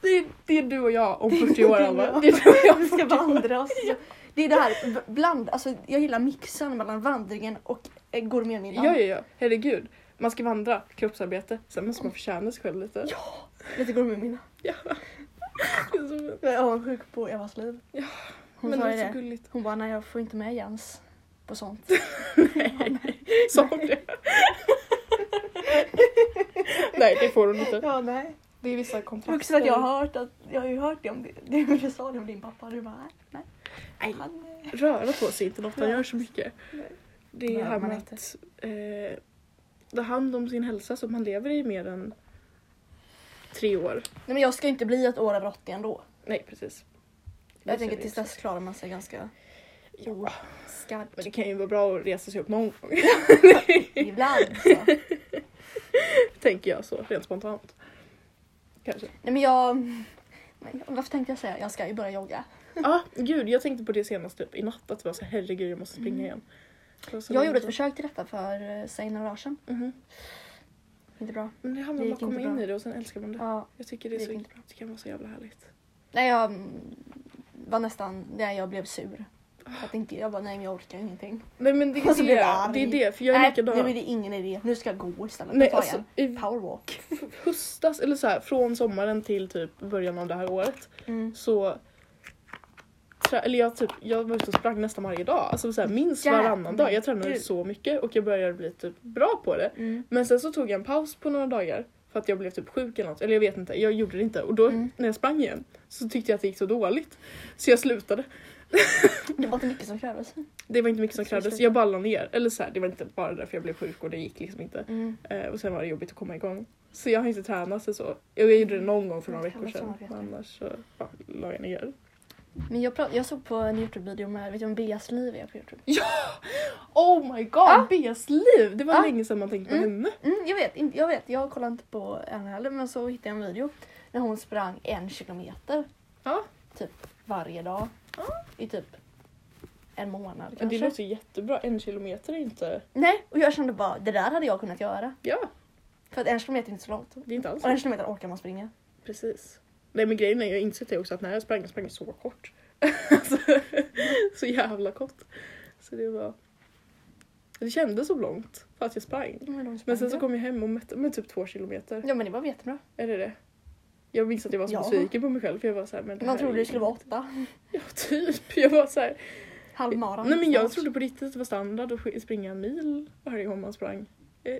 Speaker 1: Det är, det är du och jag om 40 år
Speaker 2: Du och
Speaker 1: Alva.
Speaker 2: jag.
Speaker 1: Det är du och
Speaker 2: (laughs)
Speaker 1: jag
Speaker 2: (laughs)
Speaker 1: om
Speaker 2: Vi
Speaker 1: 40
Speaker 2: ska
Speaker 1: år.
Speaker 2: vandra. och så- Det är det här, v- bland, alltså, jag gillar mixen mellan vandringen och eh,
Speaker 1: Ja,
Speaker 2: gourmetmiddagen.
Speaker 1: ja, ja. Herregud. Man ska vandra, kroppsarbete. Sen måste man förtjäna sig själv lite. Ja.
Speaker 2: Lite gourmetmiddag. Jag är avundsjuk på Evas liv.
Speaker 1: Ja,
Speaker 2: Hon
Speaker 1: Men det
Speaker 2: sa
Speaker 1: är
Speaker 2: ju
Speaker 1: så
Speaker 2: det.
Speaker 1: (laughs) gulligt.
Speaker 2: Hon bara, nej jag får inte med Jens på sånt.
Speaker 1: (laughs) Sa hon det? Nej, det får hon inte.
Speaker 2: (laughs) Ja, nej.
Speaker 1: Det är vissa kontrakter.
Speaker 2: Också att jag har hört att, jag har ju hört det om det, det du sa det om din pappa. Du bara, nej.
Speaker 1: Nej.
Speaker 2: Han, eh,
Speaker 1: Röra på sig inte något man
Speaker 2: Ja.
Speaker 1: gör så mycket.
Speaker 2: Nej.
Speaker 1: Det är
Speaker 2: Behöver
Speaker 1: här
Speaker 2: man
Speaker 1: med
Speaker 2: inte.
Speaker 1: att eh, ta hand om sin hälsa som man lever i mer än tre år.
Speaker 2: nej men jag ska inte bli ett år över 80 ändå.
Speaker 1: Nej, precis.
Speaker 2: Jag
Speaker 1: Det
Speaker 2: tänker
Speaker 1: ser vi
Speaker 2: tills
Speaker 1: också.
Speaker 2: dess klarar man sig ganska
Speaker 1: Ja.
Speaker 2: skarpt.
Speaker 1: Men det kan ju vara bra att resa sig upp någon gång.
Speaker 2: (laughs) Ibland så.
Speaker 1: Tänker jag så, rent spontant. Kanske.
Speaker 2: Nej men jag... Men jag- varför tänkte jag säga? Jag ska ju börja jogga.
Speaker 1: Ja, ah, gud jag tänkte på det senast typ, i natt att det var så här, herregud jag måste springa
Speaker 2: Mm.
Speaker 1: igen. Det var så
Speaker 2: Jag
Speaker 1: länge
Speaker 2: gjorde ett
Speaker 1: sedan.
Speaker 2: försök till detta för eh, säg några år sedan.
Speaker 1: Mhm.
Speaker 2: Inte bra.
Speaker 1: Men det
Speaker 2: Det
Speaker 1: handlar om
Speaker 2: gick
Speaker 1: att komma
Speaker 2: inte
Speaker 1: in
Speaker 2: bra.
Speaker 1: i det och sen älskar man det.
Speaker 2: Ja.
Speaker 1: Jag tycker det, är
Speaker 2: det
Speaker 1: så,
Speaker 2: gick inte bra.
Speaker 1: det kan vara så jävla härligt.
Speaker 2: Nej jag mm, var nästan där jag blev sur. För att inte, jag bara nej men jag orkar ingenting.
Speaker 1: Nej men det är
Speaker 2: Och så blir jag
Speaker 1: det,
Speaker 2: arg.
Speaker 1: det, är det för jag är
Speaker 2: nej,
Speaker 1: likadan.
Speaker 2: nu är det ingen idé. Nu ska jag gå istället.
Speaker 1: Nej
Speaker 2: Ta
Speaker 1: alltså,
Speaker 2: igen.
Speaker 1: i
Speaker 2: Powerwalk.
Speaker 1: höstas eller så här, från sommaren till typ början av det här året
Speaker 2: Mm.
Speaker 1: så trä- eller jag, typ, jag var ute och sprang nästan varje dag, alltså så här, minst
Speaker 2: Jävlar.
Speaker 1: varannan dag. Jag tränade
Speaker 2: Gud.
Speaker 1: så mycket och jag började bli typ bra på det.
Speaker 2: Mm.
Speaker 1: Men sen så tog jag en paus på några dagar för att jag blev typ sjuk eller något. Eller jag vet inte, jag gjorde det inte. Och då
Speaker 2: Mm.
Speaker 1: när jag sprang igen så tyckte jag att det gick så dåligt. Så jag slutade.
Speaker 2: Det var inte mycket som krävdes.
Speaker 1: Det var inte mycket
Speaker 2: Så
Speaker 1: som
Speaker 2: du
Speaker 1: krävdes,
Speaker 2: slutade.
Speaker 1: jag ballade ner. Eller så här, det var inte bara därför jag blev sjuk och det gick liksom inte.
Speaker 2: Mm.
Speaker 1: Eh, och sen var det jobbigt att komma igång. Så jag har inte tränat så. så. Jag gjorde det någon gång för några
Speaker 2: Jag har
Speaker 1: veckor sedan.
Speaker 2: tränat
Speaker 1: Men annars så ja, la jag ner.
Speaker 2: Men jag, prat, jag såg på en Youtube-video med, vet du om Beas liv är på Youtube?
Speaker 1: Oh my god,
Speaker 2: Ah.
Speaker 1: Beas liv! Det var
Speaker 2: Ah.
Speaker 1: länge sedan man tänkte på
Speaker 2: Mm.
Speaker 1: henne.
Speaker 2: Mm, jag vet, inte- jag vet, jag kollar inte på henne heller men så hittade jag en video när hon sprang en kilometer.
Speaker 1: Ja.
Speaker 2: Typ varje dag. I typ en månad
Speaker 1: Ah. Det
Speaker 2: kanske.
Speaker 1: låter jättebra. En kilometer är inte...
Speaker 2: Nej, och jag kände bara det där hade jag kunnat göra.
Speaker 1: Ja,
Speaker 2: För att en kilometer är inte så långt.
Speaker 1: det är inte alls.
Speaker 2: Och en kilometer orkar man springa.
Speaker 1: Precis. Nej men grejen är, jag har insett det också att när jag sprang, jag sprang så kort. (laughs) alltså, så jävla kort. Så det var... Det kändes så långt för att jag sprang. Men sen så kom jag hem och mätte mig typ två kilometer.
Speaker 2: Ja men det var jättebra.
Speaker 1: Är det det? Jag minns att jag var så
Speaker 2: Ja.
Speaker 1: besviken på mig själv för jag var så här, men det
Speaker 2: Man
Speaker 1: här
Speaker 2: trodde
Speaker 1: är
Speaker 2: det skulle vara åtta.
Speaker 1: Ja typ, jag var så här.
Speaker 2: Halvmaran.
Speaker 1: Nej men jag
Speaker 2: snart.
Speaker 1: trodde på riktigt att det var standard att sk- springa en mil varje gång man sprang.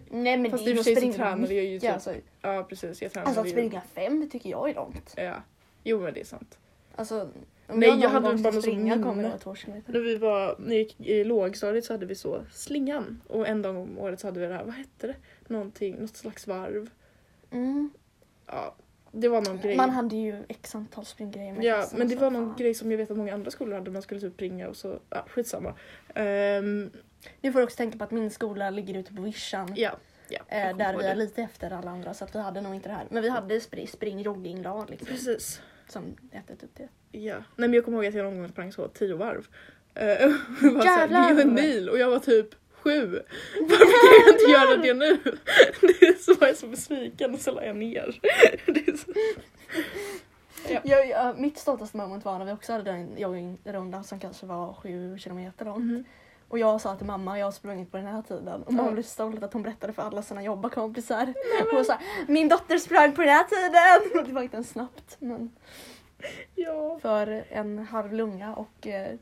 Speaker 2: Nej men
Speaker 1: Fast
Speaker 2: det är
Speaker 1: i
Speaker 2: ju
Speaker 1: och för
Speaker 2: att
Speaker 1: sig så
Speaker 2: springa
Speaker 1: tränade
Speaker 2: mycket.
Speaker 1: jag ju typ.
Speaker 2: Alltså,
Speaker 1: Ja precis, jag tränade
Speaker 2: alltså att
Speaker 1: ju.
Speaker 2: springa fem det tycker jag är långt.
Speaker 1: Ja. Jo men det är sant.
Speaker 2: Alltså, om
Speaker 1: Nej,
Speaker 2: jag,
Speaker 1: jag
Speaker 2: någon
Speaker 1: hade
Speaker 2: gång
Speaker 1: bara
Speaker 2: ska
Speaker 1: något sånt
Speaker 2: springa kommer
Speaker 1: minne.
Speaker 2: det vara två kilometer.
Speaker 1: När vi var, när jag gick i lågstadiet så hade vi så slingan och en dag om året så hade vi det här, vad hette det? Någonting, något slags varv.
Speaker 2: Mm.
Speaker 1: Ja, det var någon grej.
Speaker 2: Man hade ju x antal springgrejer med.
Speaker 1: ja,
Speaker 2: klassen,
Speaker 1: men det
Speaker 2: så
Speaker 1: var någon
Speaker 2: fan.
Speaker 1: grej som jag vet att många andra skolor hade, man skulle typ springa och så, ja skitsamma. Ehm,
Speaker 2: Nu får du också tänka på att min skola ligger ute på vischan.
Speaker 1: ja, ja. jag
Speaker 2: Eh,
Speaker 1: kommer
Speaker 2: där
Speaker 1: ihåg
Speaker 2: vi är
Speaker 1: det.
Speaker 2: lite efter alla andra så att vi hade nog inte det här. Men vi hade spring, spring jogging dag liksom.
Speaker 1: Precis.
Speaker 2: Som hette typ det.
Speaker 1: Ja. Nej men jag kommer ihåg att jag någon gång sprang så tio varv. Eh, (laughs) och bara så här, Det är ju en
Speaker 2: Jävlar!
Speaker 1: mil och jag var typ sju. Varför kan jag inte göra det nu? (laughs) Det är så jag är så besviken och så la jag ner. (laughs) Det är så... Ja.
Speaker 2: Jag, jag, mitt stoltaste moment var när vi också hade den joggingrundan som kanske var sju kilometer lång.
Speaker 1: Mhm.
Speaker 2: Och jag sa till mamma, jag har sprungit på den här tiden. Och mamma
Speaker 1: Ja.
Speaker 2: blev så stolt att hon berättade för alla sina jobbarkompisar. Hon sa, min dotter sprang på den här tiden! (laughs) Och det var inte ens snabbt. Men
Speaker 1: Ja.
Speaker 2: för en halv lunga och eh,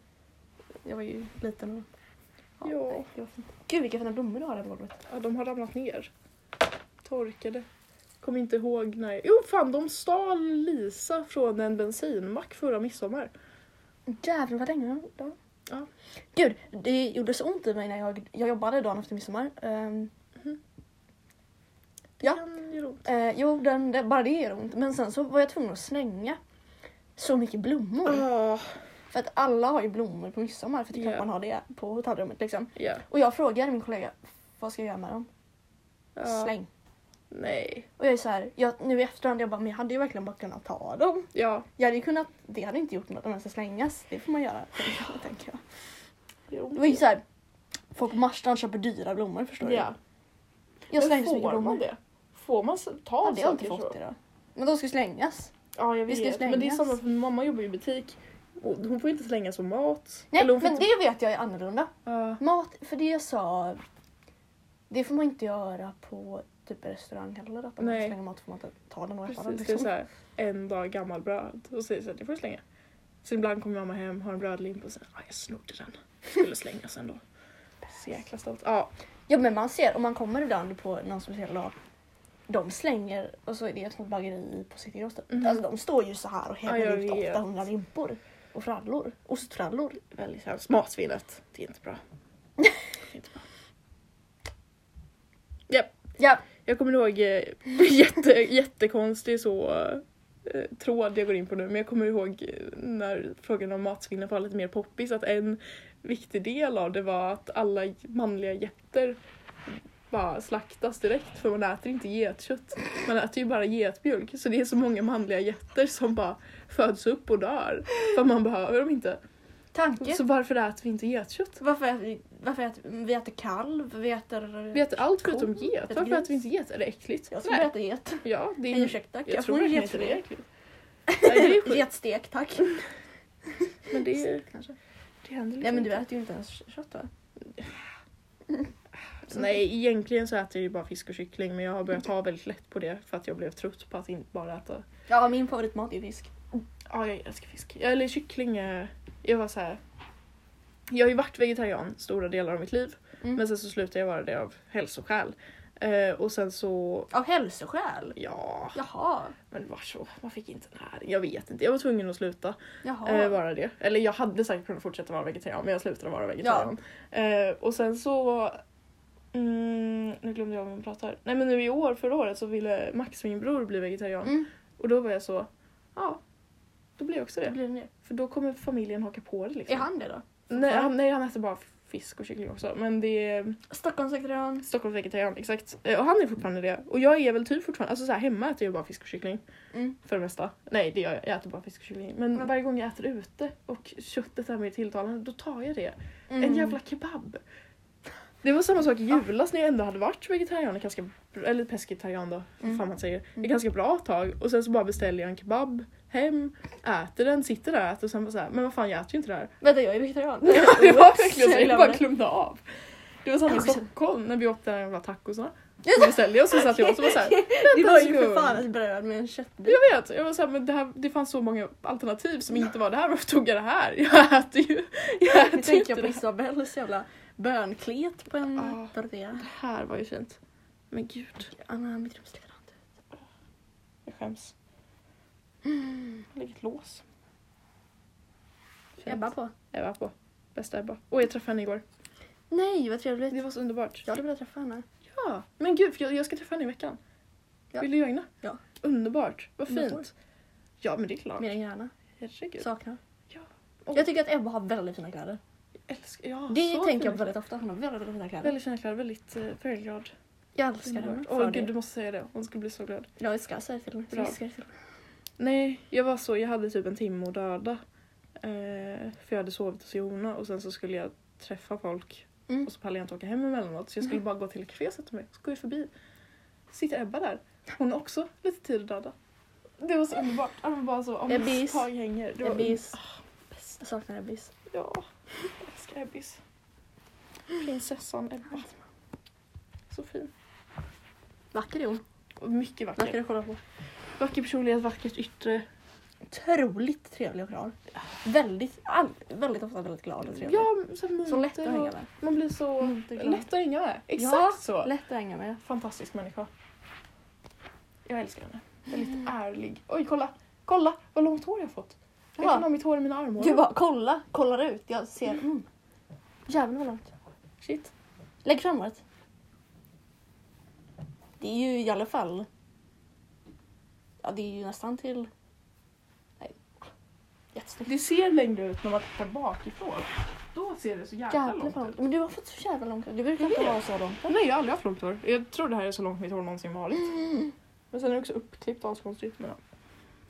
Speaker 2: jag var ju liten och...
Speaker 1: Ja.
Speaker 2: nej, det var fint. Gud vilka fina blommor du har där på golvet.
Speaker 1: Ja, de har ramlat ner. Torkade. Kommer inte ihåg när... Jo fan, de stal Lisa från en bensinmack förra midsommar.
Speaker 2: Jävlar vad länge då.
Speaker 1: Ja.
Speaker 2: Gud, det gjorde så ont i mig när jag, jag jobbade dagen efter midsommar. Ehm, Ja.
Speaker 1: Kan göra ont.
Speaker 2: eh, jo, den, det, bara det gör ont. Men sen så var jag tvungen att slänga så mycket blommor.
Speaker 1: Ah,
Speaker 2: För att alla har ju blommor på midsommar för att det är klart
Speaker 1: Ja.
Speaker 2: man har det på hotellrummet liksom.
Speaker 1: ja.
Speaker 2: Och jag frågade min kollega, vad ska jag göra med dem?
Speaker 1: Ja.
Speaker 2: Släng.
Speaker 1: Nej.
Speaker 2: Och jag är så här, jag, nu i efterhand, jag bara, men jag hade ju verkligen bara kunnat ta dem.
Speaker 1: Ja,
Speaker 2: Jag hade ju kunnat, det hade inte gjort något om de ska slängas. Det får man göra, tänker jag, tänker jag.
Speaker 1: det gör ont.
Speaker 2: Det var ju så här, folk på Marstrand köper dyra blommor förstår du.
Speaker 1: Ja.
Speaker 2: Jag
Speaker 1: Men
Speaker 2: slängde så mycket
Speaker 1: får man
Speaker 2: blommor.
Speaker 1: det? Får man s- ta
Speaker 2: Ja, det har jag inte
Speaker 1: saker så?
Speaker 2: fått idag. Men de ska slängas.
Speaker 1: Ja, jag
Speaker 2: Vi ska
Speaker 1: vet. Men det är
Speaker 2: slängas.
Speaker 1: samma för min mamma jobbar ju i butik. Och hon får inte slänga som mat.
Speaker 2: Nej,
Speaker 1: Eller hon
Speaker 2: men
Speaker 1: får inte...
Speaker 2: det vet jag är annorlunda.
Speaker 1: Ja.
Speaker 2: Mat, för det jag sa, det får man inte göra på typ restaurang heller. Att om man
Speaker 1: Nej.
Speaker 2: slänger mat får man inte ta den och äta den.
Speaker 1: Precis, det är
Speaker 2: Liksom.
Speaker 1: så här, en dag gammal bröd och säger såhär, det får du slänga. Så ibland kommer mamma hem, har en brödlimpa och säger, ah, jag snodde den. Skulle slängas ändå. Så jäkla stolt. Ja,
Speaker 2: Ja men man ser, om man kommer ibland på någon speciell dag, de slänger och så är det ett sånt bageri på City Gross typ.
Speaker 1: Mhm.
Speaker 2: Alltså de står ju så här och häller
Speaker 1: Ja, jag
Speaker 2: ut
Speaker 1: vet.
Speaker 2: 800 limpor. Och frallor. Ostfrallor.
Speaker 1: väldigt hemskt. Matsvinnet, det är inte bra. Det är inte bra. Japp.
Speaker 2: Ja,
Speaker 1: Jag kommer ihåg eh, (laughs) jätte, jättekonstig så eh, tråd jag går in på nu men jag kommer ihåg eh, när frågan om matsvinnet var lite mer poppis att en viktig del av det var att alla manliga getter bara slaktas direkt för man äter inte getkött. Man äter ju bara getmjölk så det är så många manliga getter som bara föds upp och dör för man behöver dem inte.
Speaker 2: tanke.
Speaker 1: Så varför äter vi inte getkött?
Speaker 2: Varför äter, vi- varför äter vi äter kalv, vi äter...
Speaker 1: Vi äter allt förutom
Speaker 2: Ko,
Speaker 1: get.
Speaker 2: äter
Speaker 1: Varför
Speaker 2: gris.
Speaker 1: äter vi inte get? Är det äckligt?
Speaker 2: Jag tror vi
Speaker 1: Nej.
Speaker 2: äter get.
Speaker 1: Ja, det är
Speaker 2: Nej,
Speaker 1: ju
Speaker 2: ursäkta.
Speaker 1: Jag,
Speaker 2: Jag
Speaker 1: tror
Speaker 2: får en
Speaker 1: verkligen inte det är
Speaker 2: getfri.
Speaker 1: äckligt.
Speaker 2: (laughs)
Speaker 1: Nej, det är sjukt.
Speaker 2: Getstek tack.
Speaker 1: Men det, är-
Speaker 2: Kanske.
Speaker 1: det händer
Speaker 2: Nej men du
Speaker 1: inte.
Speaker 2: äter ju inte ens kött va?
Speaker 1: Nej, egentligen så äter jag ju bara fisk och kyckling men jag har börjat ta väldigt lätt på det för att jag blev trött på att inte bara äta.
Speaker 2: Ja min favoritmat är fisk.
Speaker 1: Ja, jag älskar fisk. Ja, Eller kyckling. eh, Jag var så här. Jag har ju varit vegetarian stora delar av mitt liv
Speaker 2: Mm.
Speaker 1: men sen så slutade jag vara det av hälsoskäl. Eh, och sen så,
Speaker 2: Av hälsoskäl?
Speaker 1: ja,
Speaker 2: Jaha.
Speaker 1: men det var så. Man fick inte näring. Jag vet inte, jag var tvungen att sluta.
Speaker 2: Jaha.
Speaker 1: Eh, vara det. Eller jag hade säkert kunnat fortsätta vara vegetarian men jag slutade vara vegetarian. Eh, och sen så... Mm, nu glömde jag vad man pratar. Nej men nu i år, förra året så ville Max, min bror, bli vegetarian.
Speaker 2: Mm,
Speaker 1: Och då var jag så, ja. Då blir jag också
Speaker 2: det
Speaker 1: det.
Speaker 2: blir det.
Speaker 1: För då kommer familjen haka på det liksom.
Speaker 2: Är han det då?
Speaker 1: Nej, han, nej, han äter bara fisk och kyckling också. Men det är
Speaker 2: Stockholmsvegetarian.
Speaker 1: Stockholmsvegetarian, exakt. Eh, Och han är fortfarande det. Och jag är väl typ fortfarande, alltså så här, hemma äter jag bara fisk och kyckling.
Speaker 2: Mm.
Speaker 1: För det mesta. Nej, det gör jag. Jag äter bara fisk och kyckling. Men
Speaker 2: Mm.
Speaker 1: varje gång jag äter ute och köttet är mer tilltalande, då tar jag det.
Speaker 2: Mm.
Speaker 1: En jävla kebab. Det var samma sak i julas när jag ändå hade varit vegetarian, och ganska, eller pesketarian då, vad
Speaker 2: Mm.
Speaker 1: fan man säger,
Speaker 2: Mm.
Speaker 1: ett ganska bra tag. Och sen så bara beställer jag en kebab hem, äter den, sitter där och äter och sen bara såhär, men vad fan jag äter ju inte det här.
Speaker 2: Vänta jag är
Speaker 1: (laughs)
Speaker 2: vegetarian.
Speaker 1: det
Speaker 2: (laughs)
Speaker 1: var verkligen så,
Speaker 2: Jag
Speaker 1: jag bara
Speaker 2: glömde.
Speaker 1: klumpa av. Det var samma i
Speaker 2: Jag också.
Speaker 1: Stockholm när vi åt de där jävla tacosarna. Då beställde jag och så satt jag och så var såhär,
Speaker 2: Det
Speaker 1: vänta
Speaker 2: var
Speaker 1: en
Speaker 2: ju för
Speaker 1: sekund.
Speaker 2: fan ett bröd med en
Speaker 1: (laughs)
Speaker 2: köttbit.
Speaker 1: Jag vet, jag var såhär, men det, här, det fanns så många alternativ som inte var det här, varför tog jag det här? Jag äter ju, jag
Speaker 2: Nu
Speaker 1: äter ju
Speaker 2: tänker
Speaker 1: inte
Speaker 2: jag på
Speaker 1: det här.
Speaker 2: Isabells jävla bönklet på en
Speaker 1: typ. Ah.
Speaker 2: tortilla.
Speaker 1: Det här var ju fint. Men gud.
Speaker 2: Anna, mitt rum ser typ likadant ut.
Speaker 1: Jag skäms. Jag lägger ett lås. Fint.
Speaker 2: Ebba på.
Speaker 1: Ebba på. Bästa Ebba. Och jag träffade henne igår.
Speaker 2: Nej vad trevligt.
Speaker 1: Det var så underbart.
Speaker 2: Jag hade velat träffa henne.
Speaker 1: Ja. Men gud, för jag, jag ska träffa henne i veckan.
Speaker 2: Ja.
Speaker 1: Vill du joina?
Speaker 2: Ja.
Speaker 1: Underbart. Vad
Speaker 2: Om jag får.
Speaker 1: fint. Ja, men det är klart.
Speaker 2: Mer än gärna.
Speaker 1: Herregud.
Speaker 2: Saknar.
Speaker 1: Ja.
Speaker 2: Jag tycker att Ebba har väldigt fina kläder.
Speaker 1: Jag älskar, ja,
Speaker 2: Det
Speaker 1: så
Speaker 2: tänker jag
Speaker 1: fint.
Speaker 2: på väldigt ofta. Hon har väldigt, väldigt fina kläder.
Speaker 1: Väldigt fina kläder, väldigt eh, färgglad.
Speaker 2: Jag älskar henne
Speaker 1: Underbart.
Speaker 2: för
Speaker 1: Åh
Speaker 2: det.
Speaker 1: gud, du måste säga det. Hon skulle bli så glad.
Speaker 2: Jag älskar särfilmer.
Speaker 1: Bra. Nej, jag var så, jag hade typ en timme att döda. Eh, för jag hade sovit hos Jona och sen så skulle jag träffa folk
Speaker 2: Mm.
Speaker 1: och så pallade jag inte åka hem emellanåt så jag skulle
Speaker 2: Nej.
Speaker 1: bara gå till ett kafé och sätta mig. Så går jag förbi. Sitter Ebba där. Hon har också lite tid att döda. Det var så underbart. Jag var bara så, om
Speaker 2: Ebbis.
Speaker 1: tag hänger. Det var
Speaker 2: Ebbis.
Speaker 1: un-
Speaker 2: Jag saknar Ebbis.
Speaker 1: Ja, jag älskar Ebbis. Prinsessan Ebba. Så fin.
Speaker 2: Vacker är hon.
Speaker 1: Och mycket
Speaker 2: Vacker
Speaker 1: vacker.
Speaker 2: att kolla på.
Speaker 1: Vacker personlighet, vackert yttre.
Speaker 2: Otroligt trevlig och klar. Väldigt, all, väldigt ofta väldigt glad och trevlig.
Speaker 1: Ja, så, här
Speaker 2: så lätt att
Speaker 1: munter
Speaker 2: hänga
Speaker 1: och-
Speaker 2: med.
Speaker 1: Man blir så
Speaker 2: Munter, glad.
Speaker 1: lätt att hänga med. Exakt
Speaker 2: Ja,
Speaker 1: så.
Speaker 2: Lätt att hänga med.
Speaker 1: Fantastisk människa. Jag älskar henne.
Speaker 2: Mm.
Speaker 1: Väldigt ärlig. Oj, kolla! Kolla vad långt hår jag har fått. Jag
Speaker 2: Jaha.
Speaker 1: kan ha mitt hår i mina armhålor.
Speaker 2: Du bara kolla, kollar ut. Jag ser. Mm. Jävlar vad långt.
Speaker 1: Shit.
Speaker 2: Lägg fram håret. Det är ju i alla fall. Ja det är ju nästan till. Nej. Jättesnyggt.
Speaker 1: Det ser längre ut när man tittar bakifrån. Då ser det så jävla,
Speaker 2: Jävlar
Speaker 1: långt
Speaker 2: vad
Speaker 1: ut.
Speaker 2: långt. Men du har fått så jävla långt. Du brukar
Speaker 1: Jag
Speaker 2: inte
Speaker 1: vet.
Speaker 2: ha så långt.
Speaker 1: Nej, jag har aldrig haft långt hår. Jag tror det här är så långt mitt hår någonsin varit.
Speaker 2: Mm.
Speaker 1: Men sen är det också uppklippt askonstigt. men ja.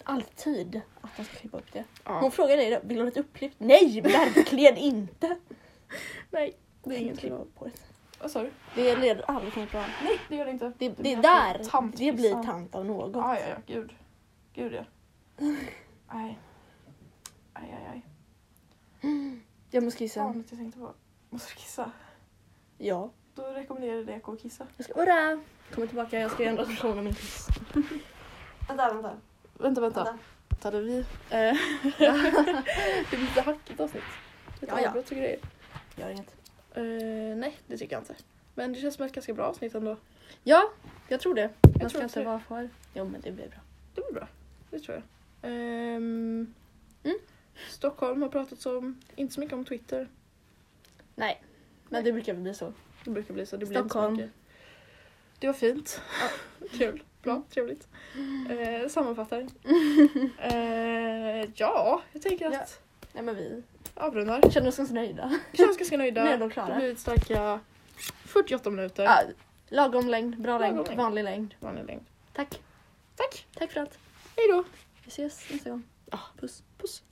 Speaker 2: Alltid att man ska klippa upp det. Hon
Speaker 1: Ja.
Speaker 2: frågar dig, vill du ha ett uppklippt? Nej, verkligen inte!
Speaker 1: (laughs) Nej, det är inget
Speaker 2: Klipp
Speaker 1: bra.
Speaker 2: upp håret.
Speaker 1: Vad sa du?
Speaker 2: Det leder aldrig till något bra.
Speaker 1: Nej, det gör det inte.
Speaker 2: Det, det är
Speaker 1: blir
Speaker 2: där
Speaker 1: tant,
Speaker 2: det blir
Speaker 1: liksom.
Speaker 2: tant av något.
Speaker 1: Ja, ja, ja. Gud. Gud, ja. Aj. Aj, aj, aj.
Speaker 2: Jag måste
Speaker 1: Fan,
Speaker 2: kissa.
Speaker 1: att jag tänkte på. Måste du kissa?
Speaker 2: Ja.
Speaker 1: Då rekommenderar jag dig att gå och kissa.
Speaker 2: Jag ska, hurra! Kommer tillbaka, jag ska ändra version av min kiss. vänta, vänta.
Speaker 1: (laughs) Vänta,
Speaker 2: vänta.
Speaker 1: (laughs) Hade vi... Eh, det blir lite hackigt avsnitt. Lite
Speaker 2: Ja, ja.
Speaker 1: avbrott och grejer.
Speaker 2: Gör inget.
Speaker 1: Eh, nej, det tycker jag inte. Men det känns som ett ganska bra avsnitt ändå.
Speaker 2: Ja, jag tror det. Jag,
Speaker 1: tror
Speaker 2: ska
Speaker 1: också
Speaker 2: inte
Speaker 1: det.
Speaker 2: vara för... Jo men det blir bra.
Speaker 1: Det blir bra. Det tror jag. Ehm,
Speaker 2: Mm.
Speaker 1: Stockholm har pratats om. Inte så mycket om Twitter.
Speaker 2: Nej. Men det brukar väl bli så.
Speaker 1: Det brukar bli så. Det blir
Speaker 2: Stockholm.
Speaker 1: Inte så mycket. det var fint. Kul. Bra.
Speaker 2: Mm.
Speaker 1: Trevligt. Eh, sammanfattar.
Speaker 2: (laughs)
Speaker 1: eh, ja, jag tänker
Speaker 2: Ja.
Speaker 1: att
Speaker 2: Nej men vi (laughs)
Speaker 1: avrundar.
Speaker 2: känner oss ganska nöjda.
Speaker 1: Vi känns ganska nöjda.
Speaker 2: Nu är de klara.
Speaker 1: Det har blivit starka 48 minuter.
Speaker 2: Ja, lagom längd, bra
Speaker 1: Lagom
Speaker 2: längd,
Speaker 1: längd.
Speaker 2: vanlig längd.
Speaker 1: Vanlig längd.
Speaker 2: Tack.
Speaker 1: Tack.
Speaker 2: Tack för allt.
Speaker 1: Hej då.
Speaker 2: Vi ses nästa gång.
Speaker 1: Ja.
Speaker 2: Puss.
Speaker 1: Puss.